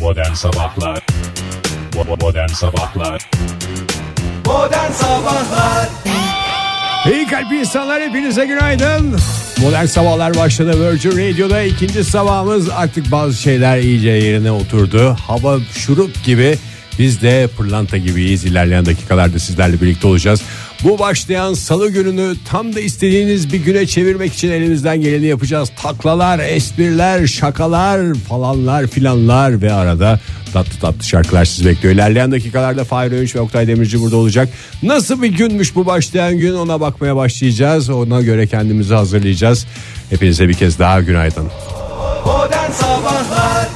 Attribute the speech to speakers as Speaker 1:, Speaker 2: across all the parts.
Speaker 1: Modern Sabahlar Bo- Modern Sabahlar
Speaker 2: Modern Sabahlar
Speaker 3: İyi kalp insanlar hepinize günaydın. Modern sabahlar başladı Virgin Radio'da ikinci sabahımız artık bazı şeyler iyice yerine oturdu. Hava şurup gibi biz de pırlanta gibiyiz. İlerleyen dakikalarda sizlerle birlikte olacağız. Bu başlayan salı gününü tam da istediğiniz bir güne çevirmek için elimizden geleni yapacağız. Taklalar, espriler, şakalar falanlar filanlar ve arada tatlı tatlı şarkılar sizi bekliyor. İlerleyen dakikalarda Fahir Öğünç ve Oktay Demirci burada olacak. Nasıl bir günmüş bu başlayan gün ona bakmaya başlayacağız. Ona göre kendimizi hazırlayacağız. Hepinize bir kez daha günaydın.
Speaker 2: Modern Sabahlar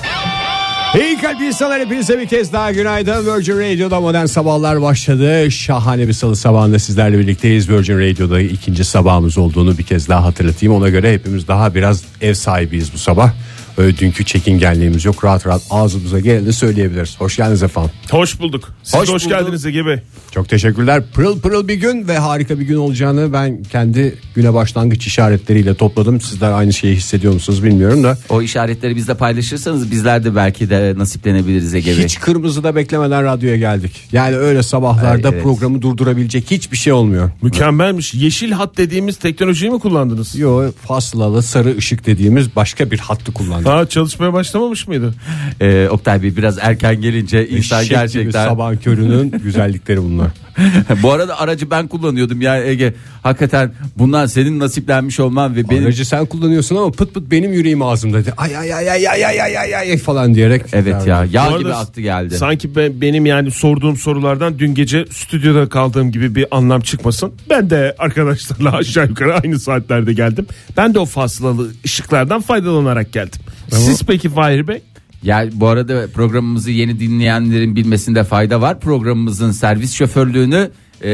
Speaker 3: İyi kalp insanlar hepinize bir kez daha günaydın. Virgin Radio'da modern sabahlar başladı. Şahane bir salı sabahında sizlerle birlikteyiz. Virgin Radio'da ikinci sabahımız olduğunu bir kez daha hatırlatayım. Ona göre hepimiz daha biraz ev sahibiyiz bu sabah. Öyle dünkü çekingenliğimiz yok. Rahat rahat ağzımıza geleni söyleyebiliriz. Hoş geldiniz efendim.
Speaker 4: Hoş bulduk. Siz
Speaker 3: Hoş
Speaker 4: hoş, hoş
Speaker 3: bulduk.
Speaker 4: geldiniz Ege Bey.
Speaker 3: Çok teşekkürler. Pırıl pırıl bir gün ve harika bir gün olacağını ben kendi güne başlangıç işaretleriyle topladım. Sizler aynı şeyi hissediyor musunuz bilmiyorum da.
Speaker 5: O işaretleri bizle paylaşırsanız bizler de belki de nasiplenebiliriz Ege Bey.
Speaker 3: Hiç kırmızıda beklemeden radyoya geldik. Yani öyle sabahlarda
Speaker 5: Ay, evet.
Speaker 3: programı durdurabilecek hiçbir şey olmuyor.
Speaker 4: Mükemmelmiş. Yeşil hat dediğimiz teknolojiyi mi kullandınız?
Speaker 3: Yo faslalı sarı ışık dediğimiz başka bir hattı kullandık.
Speaker 4: Ha çalışmaya başlamamış mıydı?
Speaker 5: Ee, Oktay Bey biraz erken gelince insan
Speaker 3: Eşek gibi
Speaker 5: gerçekten.
Speaker 3: sabah körünün güzellikleri bunlar.
Speaker 5: Bu arada aracı ben kullanıyordum ya Ege. Hakikaten bundan senin nasiplenmiş olman ve benim
Speaker 3: Aracı sen kullanıyorsun ama pıt pıt benim yüreğim ağzımda. dedi. Ay ay ay ay ay ay ay ay ay falan diyerek.
Speaker 5: Evet ya
Speaker 4: Bu
Speaker 5: yağ
Speaker 4: arada
Speaker 5: gibi attı geldi.
Speaker 4: Sanki ben, benim yani sorduğum sorulardan dün gece stüdyoda kaldığım gibi bir anlam çıkmasın. Ben de arkadaşlarla aşağı yukarı aynı saatlerde geldim. Ben de o faslalı ışıklardan faydalanarak geldim. Siz peki Fahir Bey?
Speaker 5: Ya bu arada programımızı yeni dinleyenlerin bilmesinde fayda var. Programımızın servis şoförlüğünü e,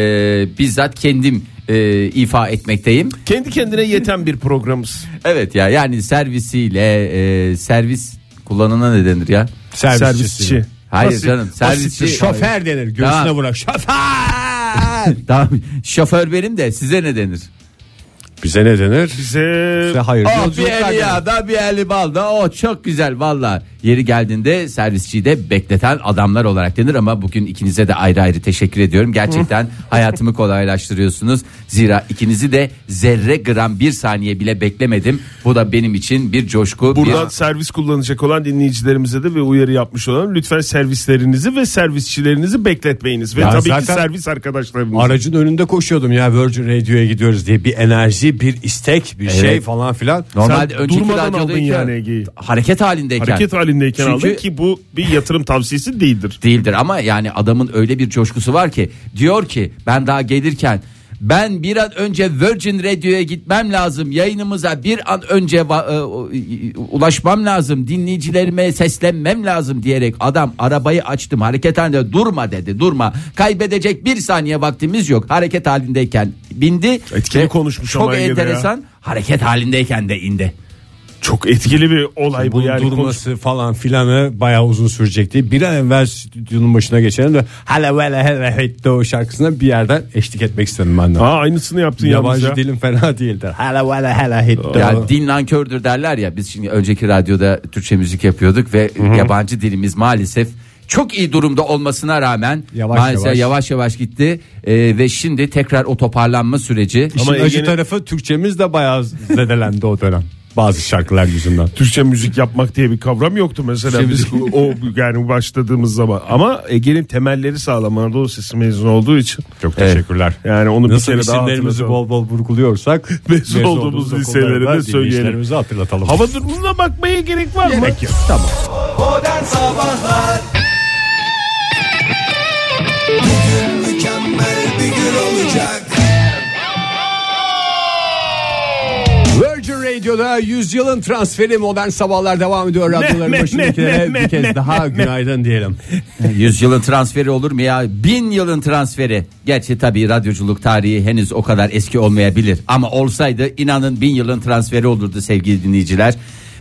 Speaker 5: bizzat kendim e, ifa etmekteyim.
Speaker 4: Kendi kendine yeten bir programız.
Speaker 5: Evet ya yani servisiyle e, servis kullanana ne denir ya?
Speaker 4: Servisçi.
Speaker 5: Hayır
Speaker 4: Basit-
Speaker 5: canım, servisçi-
Speaker 4: basit bir şey.
Speaker 3: Şoför denir göğsüne
Speaker 5: Tamam.
Speaker 3: vuran şoför.
Speaker 5: Tamam şoför benim de size ne denir?
Speaker 3: Bize ne denir?
Speaker 4: Bize
Speaker 3: Bize hayır.
Speaker 5: Ah bir eli yağda bir eli balda o çok güzel valla. Yeri geldiğinde servisçiyi de bekleten adamlar olarak denir ama bugün ikinize de ayrı ayrı teşekkür ediyorum. Gerçekten hayatımı kolaylaştırıyorsunuz. Zira ikinizi de zerre gram bir saniye bile beklemedim. Bu da benim için bir coşku.
Speaker 4: Buradan
Speaker 5: bir...
Speaker 4: servis kullanacak olan dinleyicilerimize de ve uyarı yapmış olan lütfen servislerinizi ve servisçilerinizi bekletmeyiniz. Ve
Speaker 3: Ya
Speaker 4: tabii ki
Speaker 3: zaten-
Speaker 4: servis arkadaşlarınızı.
Speaker 3: Aracın önünde koşuyordum ya Virgin Radio'ya gidiyoruz diye bir enerji, bir istek, bir şey falan filan.
Speaker 5: Normalde
Speaker 4: Sen
Speaker 5: önceki
Speaker 4: durmadan aldın
Speaker 5: radyodayken
Speaker 4: yani Ege'yi.
Speaker 5: hareket halindeyken.
Speaker 4: Hareket halindeyken
Speaker 5: Çünkü-
Speaker 4: aldın ki bu bir yatırım tavsiyesi değildir.
Speaker 5: değildir ama yani adamın öyle bir coşkusu var ki diyor ki ben daha gelirken ben bir an önce Virgin Radio'ya gitmem lazım. Yayınımıza bir an önce va- e, o- i- ulaşmam lazım. Dinleyicilerime seslenmem lazım diyerek adam arabayı açtım. Hareket halinde durma dedi. Durma. Kaybedecek bir saniye vaktimiz yok. Hareket halindeyken bindi.
Speaker 4: Etkili
Speaker 5: Ve
Speaker 4: konuşmuş ama
Speaker 5: Çok
Speaker 4: Ege'de ya.
Speaker 5: enteresan. Hareket halindeyken de indi.
Speaker 4: Çok etkili bir olay bu
Speaker 3: Bunun
Speaker 4: yani.
Speaker 3: durması falan filanı bayağı uzun sürecekti. Bir an evvel stüdyonun başına geçelim de hele vele hele heytte o şarkısına bir yerden eşlik etmek istedim ben de.
Speaker 4: Aa, aynısını yaptın yalnız
Speaker 3: Yabancı
Speaker 4: ya.
Speaker 3: dilim fena değildir. Hele vele hele heytte.
Speaker 5: Ya
Speaker 3: o.
Speaker 5: din nankördür derler ya biz şimdi önceki radyoda Türkçe müzik yapıyorduk ve yabancı dilimiz maalesef çok iyi durumda olmasına rağmen
Speaker 3: Yavaş
Speaker 5: maalesef
Speaker 3: yavaş.
Speaker 5: yavaş yavaş, gitti Ee, ve şimdi tekrar o toparlanma süreci
Speaker 3: İşin
Speaker 4: Ama
Speaker 3: acı
Speaker 4: Ege'nin-
Speaker 3: tarafı Türkçemiz de bayağı zedelendi o dönem. Bazı şarkılar yüzünden.
Speaker 4: Türkçe müzik yapmak diye bir kavram yoktu mesela biz o yani başladığımız zaman. Ama Ege'nin temelleri sağlam Anadolu Sesi mezunu olduğu için.
Speaker 3: Çok teşekkürler.
Speaker 4: Yani onu
Speaker 3: Nasıl
Speaker 4: bir kere daha
Speaker 3: isimlerimizi
Speaker 4: hatırlatalım.
Speaker 3: bol bol vurguluyorsak
Speaker 4: Mezun olduğumuz liselere de
Speaker 3: okullarda
Speaker 4: söyleyelim.
Speaker 3: dinleyicilerimize hatırlatalım.
Speaker 4: Hava durumuna bakmaya gerek var mı?
Speaker 3: Gerek yok. Tamam.
Speaker 2: Modern Sabahlar Bugün mükemmel bir gün olacak
Speaker 3: Virgin Radio'da yüzyılın transferi modern sabahlar devam ediyor. Radyoların
Speaker 4: ne,
Speaker 3: başındakilere
Speaker 4: ne,
Speaker 3: bir kez
Speaker 4: ne,
Speaker 3: daha günaydın diyelim.
Speaker 5: Yüzyılın transferi olur mu ya? Bin yılın transferi. Gerçi tabii radyoculuk tarihi henüz o kadar eski olmayabilir. Ama olsaydı inanın bin yılın transferi olurdu sevgili dinleyiciler.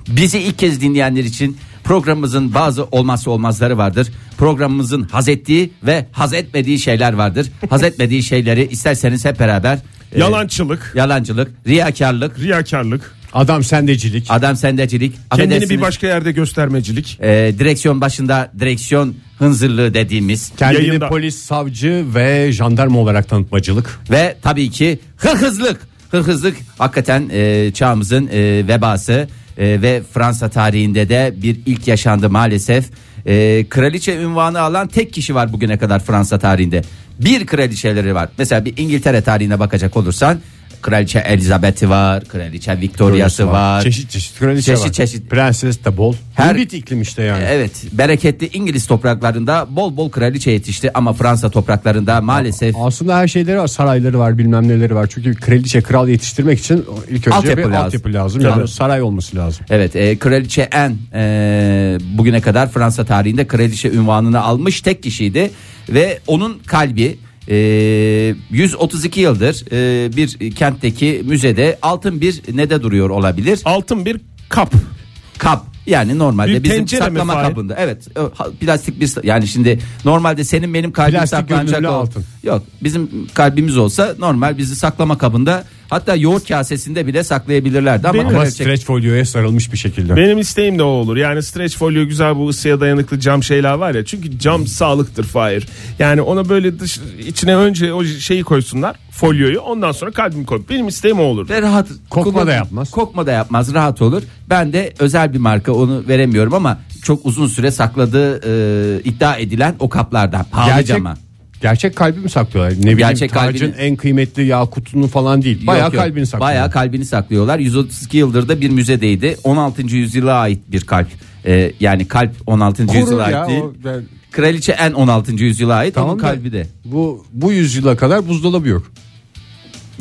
Speaker 5: Bizi ilk kez dinleyenler için programımızın bazı olmazsa olmazları vardır. Programımızın haz ettiği ve haz etmediği şeyler vardır. Haz etmediği şeyleri isterseniz hep beraber... e,
Speaker 4: Yalancılık,
Speaker 5: yalancılık, riyakarlık,
Speaker 4: riyakarlık,
Speaker 3: Adam sendecilik.
Speaker 5: Adam sendecilik.
Speaker 4: Kendini bir
Speaker 5: affedersiniz,
Speaker 4: başka yerde göstermecilik.
Speaker 5: e, direksiyon başında direksiyon hınzırlığı dediğimiz
Speaker 3: Kendini
Speaker 4: Yayında.
Speaker 3: polis, savcı ve jandarma olarak tanıtmacılık.
Speaker 5: ve tabii ki hırhızlık. Hırhızlık hakikaten e, çağımızın e, vebası e, ve Fransa tarihinde de bir ilk yaşandı maalesef. E, kraliçe ünvanı alan tek kişi var bugüne kadar Fransa tarihinde. Bir kraliçeleri var. Mesela bir İngiltere tarihine bakacak olursan Kraliçe Elizabeth'i var, Kraliçe Victoria'sı var.
Speaker 3: Çeşit çeşit kraliçe
Speaker 5: Çeşit
Speaker 3: var.
Speaker 5: çeşit.
Speaker 3: Prenses de bol.
Speaker 5: Her-
Speaker 3: Her... Bir iklim işte yani.
Speaker 5: Evet bereketli İngiliz topraklarında bol bol kraliçe yetişti ama Fransa topraklarında maalesef
Speaker 3: Aslında her şeyleri var. Sarayları var bilmem neleri var. Çünkü kraliçe kral yetiştirmek için ilk önce
Speaker 5: Altyapı
Speaker 3: bir
Speaker 5: lazım.
Speaker 3: altyapı lazım.
Speaker 4: Tabii.
Speaker 3: Yani saray olması lazım.
Speaker 5: Evet e, kraliçe en bugüne kadar Fransa tarihinde kraliçe ünvanını almış tek kişiydi ve onun kalbi e, 132 yıldır e, bir kentteki müzede altın bir nede duruyor olabilir
Speaker 4: Altın bir kap.
Speaker 5: kap yani normalde
Speaker 4: Bir
Speaker 5: bizim
Speaker 4: tencere mi
Speaker 5: saklama
Speaker 4: Fahir?
Speaker 5: kabında evet ö- ha- plastik bir yani şimdi normalde senin benim kalbim
Speaker 3: Plastik
Speaker 5: saklanacak
Speaker 3: gönüllü
Speaker 5: ol-
Speaker 3: altın.
Speaker 5: yok bizim kalbimiz olsa normal bizi saklama kabında hatta yoğurt kasesinde bile saklayabilirlerdi ama,
Speaker 4: Benim-
Speaker 3: Ama
Speaker 5: kraliçe-
Speaker 3: streç folyoya sarılmış bir şekilde.
Speaker 4: Benim isteğim de o olur. Yani streç folyo güzel bu ısıya dayanıklı cam şeyler var ya. Çünkü cam sağlıktır Fahir. Yani ona böyle dış, içine önce o şeyi koysunlar. Folyoyu ondan sonra kalbimi koy. Benim isteğim o olur.
Speaker 5: ve rahat
Speaker 3: Kokma
Speaker 5: kullan-
Speaker 3: da yapmaz.
Speaker 5: Kokma da yapmaz, rahat olur. Ben de özel bir marka onu veremiyorum ama çok uzun süre sakladığı e, iddia edilen o kaplardan pahalı
Speaker 3: Gerçek,
Speaker 5: cama.
Speaker 3: gerçek kalbi mi saklıyorlar? Ne bileyim
Speaker 5: Gerçek
Speaker 3: tacın
Speaker 5: kalbini-
Speaker 3: en kıymetli yakutunu falan değil. Bayağı
Speaker 5: Yok, yok.
Speaker 3: kalbini saklıyorlar.
Speaker 5: Bayağı kalbini saklıyorlar. 132 yıldır da bir müzedeydi. 16. yüzyıla ait bir kalp. E, yani kalp 16. yüzyıla
Speaker 3: ya,
Speaker 5: ait değil.
Speaker 3: o- ben-
Speaker 5: Kraliçe en 16. yüzyıla ait onun
Speaker 3: da
Speaker 5: kalbi de.
Speaker 3: Bu bu yüzyıla kadar buzdolabı yok.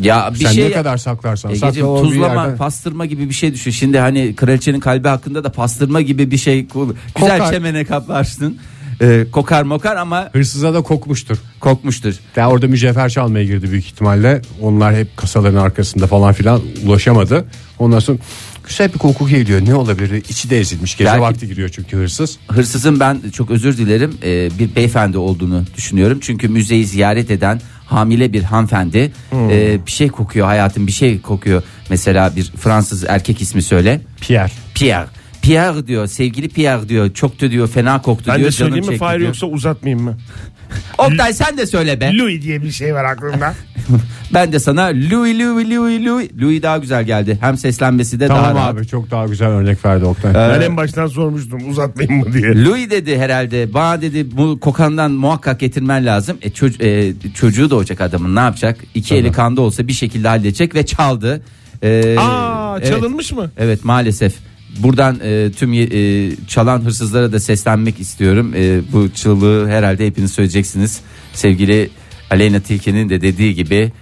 Speaker 5: Ya bir
Speaker 3: Sen
Speaker 5: şey
Speaker 3: ne kadar saklarsan
Speaker 5: Egeciğim,
Speaker 3: sakla o bir
Speaker 5: tuzlama,
Speaker 3: yerden-
Speaker 5: pastırma gibi bir şey düşün. Şimdi hani kraliçenin kalbi hakkında da pastırma gibi bir şey kul- güzel
Speaker 3: Kokar.
Speaker 5: çemene kaplarsın. Ee, kokar mokar ama
Speaker 3: Hırsıza da kokmuştur.
Speaker 5: kokmuştur.
Speaker 3: Ya orada mücevher çalmaya girdi büyük ihtimalle. Onlar hep kasaların arkasında falan filan ulaşamadı. Ondan sonra güzel bir koku geliyor. Ne olabilir? İçi de ezilmiş. Gece
Speaker 5: Belki-
Speaker 3: vakti giriyor çünkü hırsız.
Speaker 5: Hırsızın ben çok özür dilerim ee, bir beyefendi olduğunu düşünüyorum. Çünkü müzeyi ziyaret eden hamile bir hanımefendi
Speaker 3: Hmm.
Speaker 5: ee, bir şey kokuyor hayatım bir şey kokuyor. Mesela bir Fransız erkek ismi söyle.
Speaker 3: Pierre.
Speaker 5: Pierre. Pierre diyor sevgili Pierre diyor çok da diyor fena koktu
Speaker 4: Ben
Speaker 5: diyor.
Speaker 4: de
Speaker 5: canım
Speaker 4: söyleyeyim mi
Speaker 5: çekti
Speaker 4: Fahir
Speaker 5: diyor.
Speaker 4: yoksa uzatmayayım mı?
Speaker 5: Oktay sen de söyle be.
Speaker 4: Louis diye bir şey var aklımda.
Speaker 5: Ben de sana Louis Louis Louis Louis Louis daha güzel geldi. Hem seslenmesi de
Speaker 3: Tamam
Speaker 5: daha
Speaker 3: abi
Speaker 5: rahat.
Speaker 3: çok daha güzel örnek verdi Oktay.
Speaker 4: ben en baştan sormuştum uzatmayayım mı diye.
Speaker 5: Louis dedi herhalde bana dedi bu kokandan muhakkak getirmen lazım. E, çoc- e, çocuğu da olacak adamın ne yapacak? İki eli kanda olsa bir şekilde halledecek ve çaldı. E,
Speaker 4: Aa
Speaker 5: evet.
Speaker 4: çalınmış mı?
Speaker 5: Evet maalesef. Buradan e, tüm ye- e, çalan hırsızlara da seslenmek istiyorum. E, bu çığlığı herhalde hepiniz söyleyeceksiniz. Sevgili Aleyna Tilki'nin de dediği gibi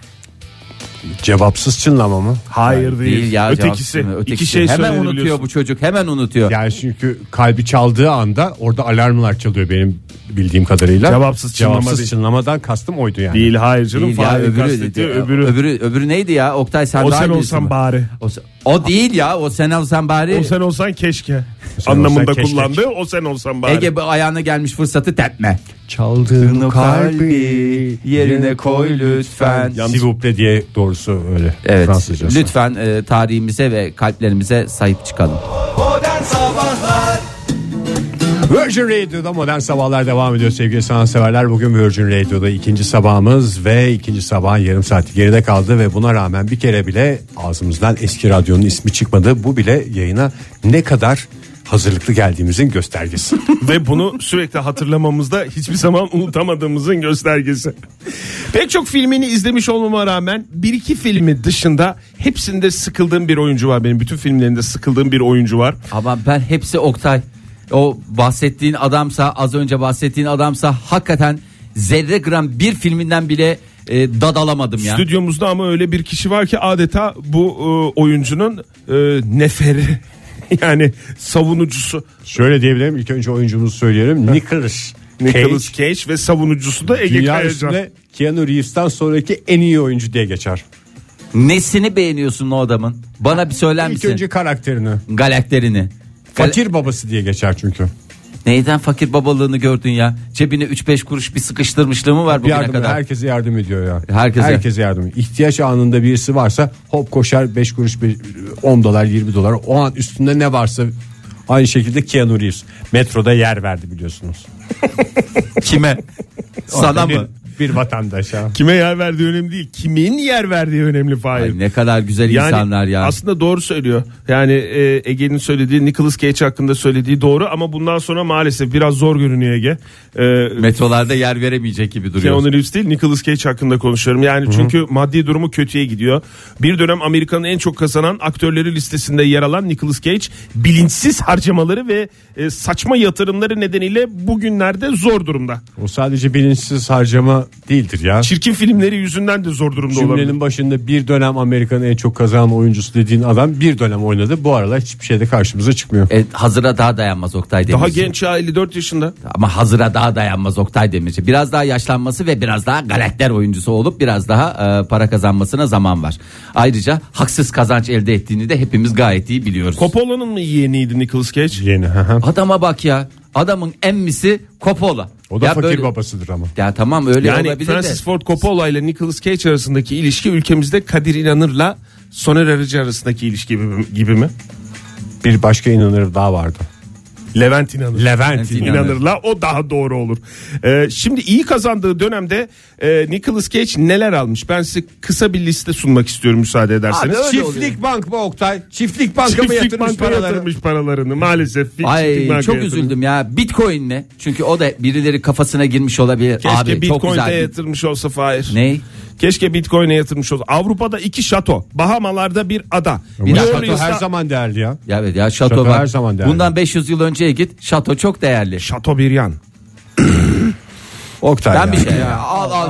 Speaker 3: Cevapsız çınlama mı?
Speaker 4: Hayır değil.
Speaker 5: değil ya
Speaker 4: ötekisi.
Speaker 5: cevapsız mı?
Speaker 4: İki şey
Speaker 5: hemen unutuyor
Speaker 4: söyleyebiliyorsun.
Speaker 5: bu çocuk hemen unutuyor.
Speaker 3: Yani çünkü kalbi çaldığı anda orada alarmlar çalıyor benim bildiğim kadarıyla.
Speaker 4: Cevapsız çınlama
Speaker 3: Cevapsız
Speaker 4: değil.
Speaker 3: çınlamadan kastım oydu yani.
Speaker 4: Değil hayır canım.
Speaker 5: Değil ya,
Speaker 4: Fahir
Speaker 5: öbürü,
Speaker 4: kastediyor,
Speaker 5: dedi.
Speaker 4: öbürü.
Speaker 5: öbürü. öbürü neydi ya Oktay sen
Speaker 4: O
Speaker 5: daha
Speaker 4: sen
Speaker 5: iyi
Speaker 4: olsan
Speaker 5: biliyorsun.
Speaker 4: bari.
Speaker 5: o, sen- o değil ya o sen olsan bari
Speaker 4: O sen olsan keşke.
Speaker 3: sen
Speaker 4: Anlamında
Speaker 3: olsan keşke.
Speaker 4: kullandığı o sen olsan bari.
Speaker 5: Ege bu ayağına gelmiş fırsatı tepme
Speaker 3: Çaldığın
Speaker 5: kalbi yerine koy lütfen.
Speaker 3: S'il vous plaît diye doğrusu öyle.
Speaker 5: Evet
Speaker 3: Fransızcası.
Speaker 5: lütfen e, tarihimize ve kalplerimize sahip çıkalım
Speaker 2: Modern Sabahlar
Speaker 3: Virgin Radio'da modern sabahlar devam ediyor sevgili sanatseverler. Bugün Virgin Radio'da ikinci sabahımız ve ikinci sabahın yarım saati geride kaldı ve buna rağmen bir kere bile ağzımızdan eski radyonun ismi çıkmadı. Bu bile yayına ne kadar hazırlıklı geldiğimizin göstergesi.
Speaker 4: Ve bunu sürekli hatırlamamızda hiçbir zaman unutamadığımızın göstergesi. Pek çok filmini izlemiş olmama rağmen bir iki filmi dışında hepsinde sıkıldığım bir oyuncu var benim. Bütün filmlerinde sıkıldığım bir oyuncu var.
Speaker 5: ama ben hepsi Oktay o bahsettiğin adamsa az önce bahsettiğin adamsa hakikaten zerre gram bir filminden bile e, dadalamadım ya
Speaker 4: Stüdyomuzda ama öyle bir kişi var ki adeta bu e, oyuncunun e, neferi yani savunucusu.
Speaker 3: Şöyle diyebilirim ilk önce oyuncumuzu söyleyelim. Nicholas
Speaker 4: Nicolas
Speaker 3: Cage.
Speaker 4: Cage ve savunucusu da Ege
Speaker 3: Dünya
Speaker 4: Kayacan.
Speaker 3: üstüne Keanu Reeves'ten sonraki en iyi oyuncu diye geçer.
Speaker 5: nesini beğeniyorsun o adamın bana bir söyler
Speaker 3: İlk
Speaker 5: misin
Speaker 3: önce karakterini.
Speaker 5: galakterini
Speaker 3: Fakir babası diye geçer çünkü.
Speaker 5: Neyden fakir babalığını gördün ya? Cebine 3-5 kuruş bir sıkıştırmışlığı mı var bugüne
Speaker 3: yardım,
Speaker 5: kadar?
Speaker 3: Herkese yardım ediyor ya.
Speaker 5: Herkese.
Speaker 3: Herkese yardım. İhtiyaç anında birisi varsa hop koşar 5 kuruş beş- 10 dolar 20 dolar o an üstünde ne varsa aynı şekilde Keanu Reeves metroda yer verdi biliyorsunuz.
Speaker 5: Kime? Sana
Speaker 3: Bir-
Speaker 5: mı?
Speaker 3: Bir vatandaşa.
Speaker 4: Kime yer verdiği önemli değil. Kimin yer verdiği önemli Fahir.
Speaker 5: Ay ne kadar güzel
Speaker 4: Yani
Speaker 5: insanlar ya.
Speaker 4: aslında doğru söylüyor. Yani e, Ege'nin söylediği Nicolas Cage hakkında söylediği doğru ama bundan sonra maalesef biraz zor görünüyor Ege. E,
Speaker 5: Metrolarda yer veremeyecek gibi duruyor.
Speaker 4: Keanu Reeves değil Nicolas Cage hakkında konuşuyorum. Yani çünkü maddi durumu kötüye gidiyor. Bir dönem Amerika'nın en çok kazanan aktörleri listesinde yer alan Nicolas Cage bilinçsiz harcamaları ve e, saçma yatırımları nedeniyle bugünlerde zor durumda.
Speaker 3: O sadece bilinçsiz harcama değildir ya.
Speaker 4: Çirkin filmleri yüzünden de zor durumda olabilir.
Speaker 3: Cümlenin başında bir dönem Amerika'nın en çok kazanan oyuncusu dediğin adam bir dönem oynadı. Bu aralar hiçbir şeyde karşımıza çıkmıyor.
Speaker 5: E, hazıra daha dayanmaz Oktay Demirci.
Speaker 4: Daha genç ya 54 yaşında.
Speaker 5: Ama hazıra daha dayanmaz Oktay Demirci. Biraz daha yaşlanması ve biraz daha galakter oyuncusu olup biraz daha e, para kazanmasına zaman var. Ayrıca haksız kazanç elde ettiğini de hepimiz gayet iyi biliyoruz.
Speaker 4: Coppola'nın mı yeğeniydi Nicolas Cage?
Speaker 3: Yeni. hı hı.
Speaker 5: Adama bak ya. Adamın emmisi Coppola.
Speaker 3: o da
Speaker 5: ya
Speaker 3: fakir
Speaker 5: böyle-
Speaker 3: babasıdır ama.
Speaker 5: Ya tamam öyle
Speaker 4: Yani
Speaker 5: olabilir
Speaker 4: Francis
Speaker 5: de.
Speaker 4: Ford Coppola ile Nicolas Cage arasındaki ilişki ülkemizde Kadir İnanır'la Soner Arıcı arasındaki ilişki gibi, gibi mi?
Speaker 3: Bir başka inanır daha vardı.
Speaker 4: Levent İnanır.
Speaker 3: Levent
Speaker 5: İnanır.
Speaker 4: İnanır'la o daha doğru olur. Ee, şimdi iyi kazandığı dönemde e, Nicolas Cage neler almış? Ben size kısa bir liste sunmak istiyorum müsaade ederseniz.
Speaker 5: Abi öyle
Speaker 4: Çift-
Speaker 3: Çiftlik bank mı Oktay? Çiftlik banka
Speaker 4: Hani
Speaker 3: mı
Speaker 4: Çiftlik
Speaker 3: yatırmış
Speaker 4: banka
Speaker 3: paraları?
Speaker 4: yatırmış paralarını maalesef. Çiftlik
Speaker 5: Ay
Speaker 4: banka
Speaker 5: çok
Speaker 4: yatırmış.
Speaker 5: üzüldüm ya. Bitcoin ne? Çünkü o da birileri kafasına girmiş olabilir.
Speaker 4: Keşke
Speaker 5: Abi çok
Speaker 4: Bitcoin'e
Speaker 5: güzel.
Speaker 4: yatırmış olsa Fahir.
Speaker 5: Ne?
Speaker 4: Keşke Bitcoin'e yatırmış olsa. Avrupa'da iki şato. Bahamalarda bir ada.
Speaker 5: Bir
Speaker 4: New
Speaker 5: dakika,
Speaker 3: Şato
Speaker 4: Orleans'ta-
Speaker 3: her zaman değerli ya.
Speaker 5: Ya evet ya şato
Speaker 3: Şato
Speaker 5: bak.
Speaker 3: her zaman değerli.
Speaker 5: Bundan 500 yıl önceye git. Şato çok değerli.
Speaker 4: Şato bir yan.
Speaker 3: Oktay
Speaker 5: Ben
Speaker 3: ya.
Speaker 5: bir şey al al.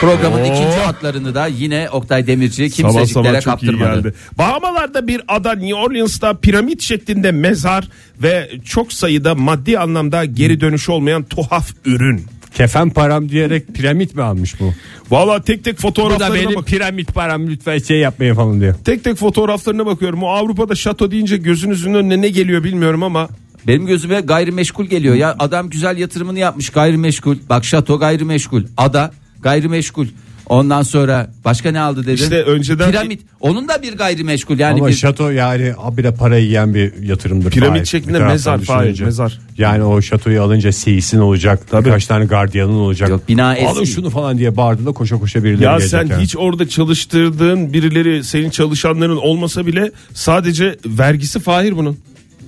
Speaker 5: Programın ikinci hatlarını da yine Oktay Demirci kimseciklere kaptırmadı.
Speaker 4: Bahamalarda bir ada New Orleans'ta piramit şeklinde mezar ve çok sayıda maddi anlamda geri dönüşü olmayan tuhaf ürün.
Speaker 3: Kefen param diyerek piramit mi almış bu?
Speaker 4: Valla tek tek
Speaker 3: Bu da
Speaker 4: fotoğraflarına
Speaker 3: benim
Speaker 4: bak.
Speaker 3: piramit param lütfen şey yapmayın falan diyor.
Speaker 4: Tek tek fotoğraflarına bakıyorum. O Avrupa'da şato deyince gözünüzün önüne ne geliyor bilmiyorum ama
Speaker 5: Benim gözüme gayrimeşgul geliyor ya. Adam güzel yatırımını yapmış gayrimeşgul. Bak şato gayrimeşgul. Ada gayrimeşgul. Ondan sonra başka ne aldı dedin?
Speaker 4: İşte önceden-
Speaker 5: piramit. Onun da bir gayrimeşgul yani
Speaker 3: Ama
Speaker 5: bir
Speaker 3: şato yani abire para yiyen bir yatırımdır.
Speaker 4: Piramit
Speaker 3: Fahir.
Speaker 4: şeklinde
Speaker 3: Bir taraftan
Speaker 4: mezar Fahir,
Speaker 3: düşününce.
Speaker 4: mezar.
Speaker 3: Yani o şatoyu alınca seysin olacak. Birkaç tane gardiyanın olacak.
Speaker 5: Yok, bina eski.
Speaker 3: Alın şunu falan diye bağırdı da koşa koşa birileri
Speaker 4: ya
Speaker 3: gelecek
Speaker 4: sen
Speaker 3: yani.
Speaker 4: hiç orada çalıştırdığın birileri senin çalışanların olmasa bile sadece vergisi Fahir bunun.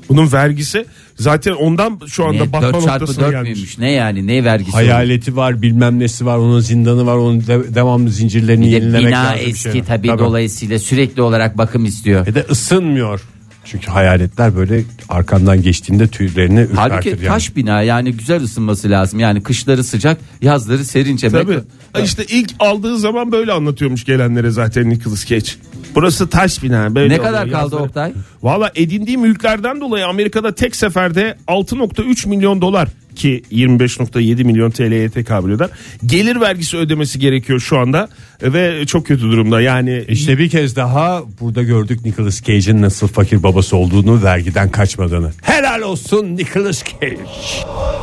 Speaker 4: Bunun vergisi zaten ondan şu anda
Speaker 5: ne,
Speaker 4: batma
Speaker 5: 4 çarpı
Speaker 4: noktasına
Speaker 5: 4
Speaker 4: gelmiş.
Speaker 5: müymüş? Ne yani ne vergisi?
Speaker 3: Hayaleti var bilmem nesi var onun zindanı var onun de- devamlı zincirlerini
Speaker 5: Bir de
Speaker 3: yenilemek
Speaker 5: bina
Speaker 3: lazım.
Speaker 5: eski
Speaker 3: şey.
Speaker 5: tabii, dolayısıyla sürekli olarak bakım istiyor.
Speaker 3: Ve E de ısınmıyor. Çünkü hayaletler böyle arkandan geçtiğinde tüylerini ürpertir
Speaker 5: Halbuki
Speaker 3: yani.
Speaker 5: taş bina yani güzel ısınması lazım. Yani kışları sıcak, yazları serince.
Speaker 4: Tabii.
Speaker 5: Bak-
Speaker 4: Ha, İşte ilk aldığı zaman böyle anlatıyormuş gelenlere zaten Nicolas Cage. Burası taş bina. Böyle
Speaker 5: Ne kadar kaldı Oktay?
Speaker 4: Valla edindiği mülklerden dolayı Amerika'da tek seferde 6.3 milyon dolar ki 25.7 milyon TL'ye tekabül eder. Gelir vergisi ödemesi gerekiyor şu anda ve çok kötü durumda. Yani
Speaker 3: İşte bir kez daha burada gördük Nicolas Cage'in nasıl fakir babası olduğunu, vergiden kaçmadığını. Helal olsun Nicolas Cage.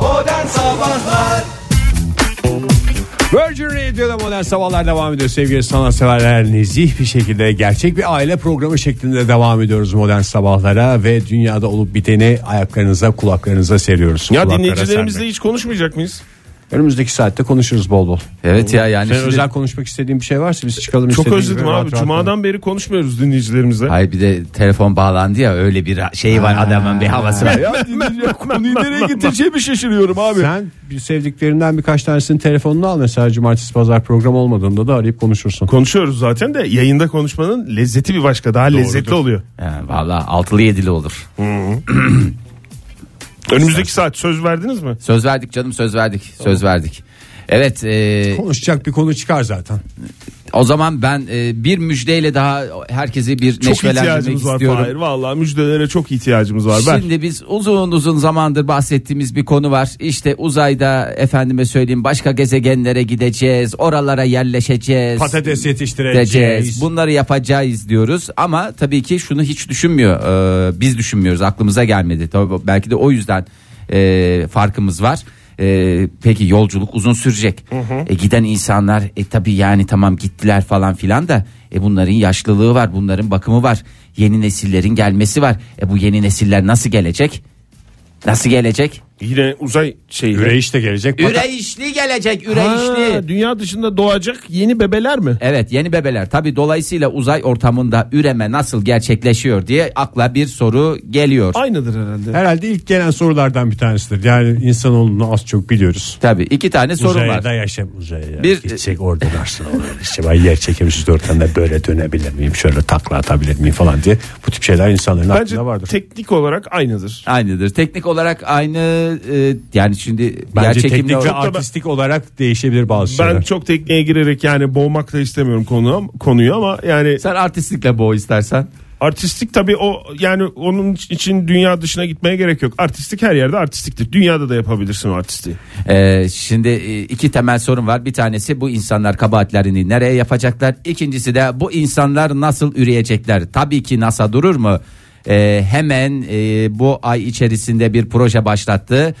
Speaker 2: Modern Sabahlar
Speaker 3: Virgin Radio'da modern sabahlar devam ediyor sevgili sanatseverler. Nezih bir şekilde gerçek bir aile programı şeklinde devam ediyoruz modern sabahlara ve dünyada olup biteni ayaklarınıza kulaklarınıza seriyoruz.
Speaker 4: ya
Speaker 3: Kulaklara
Speaker 4: dinleyicilerimizle
Speaker 3: sermek.
Speaker 4: hiç konuşmayacak mıyız?
Speaker 3: Önümüzdeki saatte konuşuruz bol bol.
Speaker 5: Evet ya yani
Speaker 3: Senin
Speaker 5: şimdi-
Speaker 3: özel konuşmak istediğin bir şey varsa biz çıkalım.
Speaker 4: Çok
Speaker 3: istediğin
Speaker 4: özledim
Speaker 3: gibi rahat
Speaker 4: abi.
Speaker 3: rahat
Speaker 4: Cuma'dan beri konuşmuyoruz dinleyicilerimizle.
Speaker 5: Hayır bir de telefon bağlandı ya öyle bir şey var adamın bir havası var.
Speaker 4: Konuyu nereye getireceğimi şaşırıyorum abi.
Speaker 3: Sen bir sevdiklerinden birkaç tanesinin telefonunu al mesela cumartesi pazar program olmadığında da arayıp konuşursun.
Speaker 4: Konuşuyoruz zaten de yayında konuşmanın lezzeti bir başka. Daha lezzetli oluyor.
Speaker 5: Yani Valla altılı yedili olur.
Speaker 4: Önümüzdeki saat söz verdiniz mi?
Speaker 5: Söz verdik canım söz verdik söz verdik. Evet e,
Speaker 3: Konuşacak bir konu çıkar zaten.
Speaker 5: o zaman ben e, bir müjdeyle daha herkesi bir
Speaker 4: Çok
Speaker 5: neşvelendirmek
Speaker 4: ihtiyacımız var
Speaker 5: istiyorum.
Speaker 4: Fahir. Vallahi müjdelere çok ihtiyacımız var. Ben
Speaker 5: Şimdi biz uzun uzun zamandır bahsettiğimiz bir konu var. İşte uzayda efendime söyleyeyim başka gezegenlere gideceğiz, oralara yerleşeceğiz.
Speaker 3: Patates
Speaker 5: edeceğiz.
Speaker 3: yetiştireceğiz.
Speaker 5: Bunları yapacağız diyoruz ama e, tabii ki şunu hiç düşünmüyor. Ee, biz düşünmüyoruz. Aklımıza gelmedi. Tabii belki de o yüzden e, farkımız var. E, peki yolculuk uzun sürecek. E, giden insanlar e tabi yani tamam gittiler falan filan da e bunların yaşlılığı var, bunların bakımı var. Yeni nesillerin gelmesi var. E bu yeni nesiller nasıl gelecek? Nasıl gelecek?
Speaker 4: Yine uzay şeyi.
Speaker 3: Üreyş de gelecek. Bak-
Speaker 5: Üreyişli gelecek, üreyişli.
Speaker 4: Ha, dünya dışında doğacak yeni bebeler mi?
Speaker 5: Evet yeni bebeler tabi dolayısıyla uzay ortamında üreme nasıl gerçekleşiyor diye akla bir soru geliyor.
Speaker 4: Aynıdır herhalde.
Speaker 3: Herhalde ilk gelen sorulardan bir tanesidir. Yani insanoğlunu az çok biliyoruz.
Speaker 5: Tabi iki tane soru var.
Speaker 3: Uzayda yaşam
Speaker 5: Bir-
Speaker 3: uzayda. Bir, Gidecek orada dersin olur. İşte ben yer çekimi dörtende böyle dönebilir miyim? Şöyle takla atabilir miyim falan diye. Bu tip şeyler insanların
Speaker 4: Bence
Speaker 3: aklında vardır.
Speaker 4: teknik olarak aynıdır.
Speaker 5: Aynıdır. Teknik olarak aynı e, yani şimdi
Speaker 3: Bence
Speaker 5: çekimle-
Speaker 3: teknik ve
Speaker 5: Çok da-
Speaker 3: artistik olarak değişebilir bazı
Speaker 4: Ben
Speaker 3: şeyler.
Speaker 4: çok tekniğe girerek yani boğmak da istemiyorum konu, konuyu ama yani
Speaker 5: sen artistlikle boğ istersen.
Speaker 4: artistik tabii o yani onun için dünya dışına gitmeye gerek yok. Artistik her yerde artistiktir. Dünyada da yapabilirsin o artistiği.
Speaker 5: E, şimdi e, iki temel sorun var. Bir tanesi bu insanlar kabahatlerini nereye yapacaklar? İkincisi de bu insanlar nasıl üreyecekler? Tabii ki NASA durur mu? E, hemen e, bu ay içerisinde bir proje başlattı.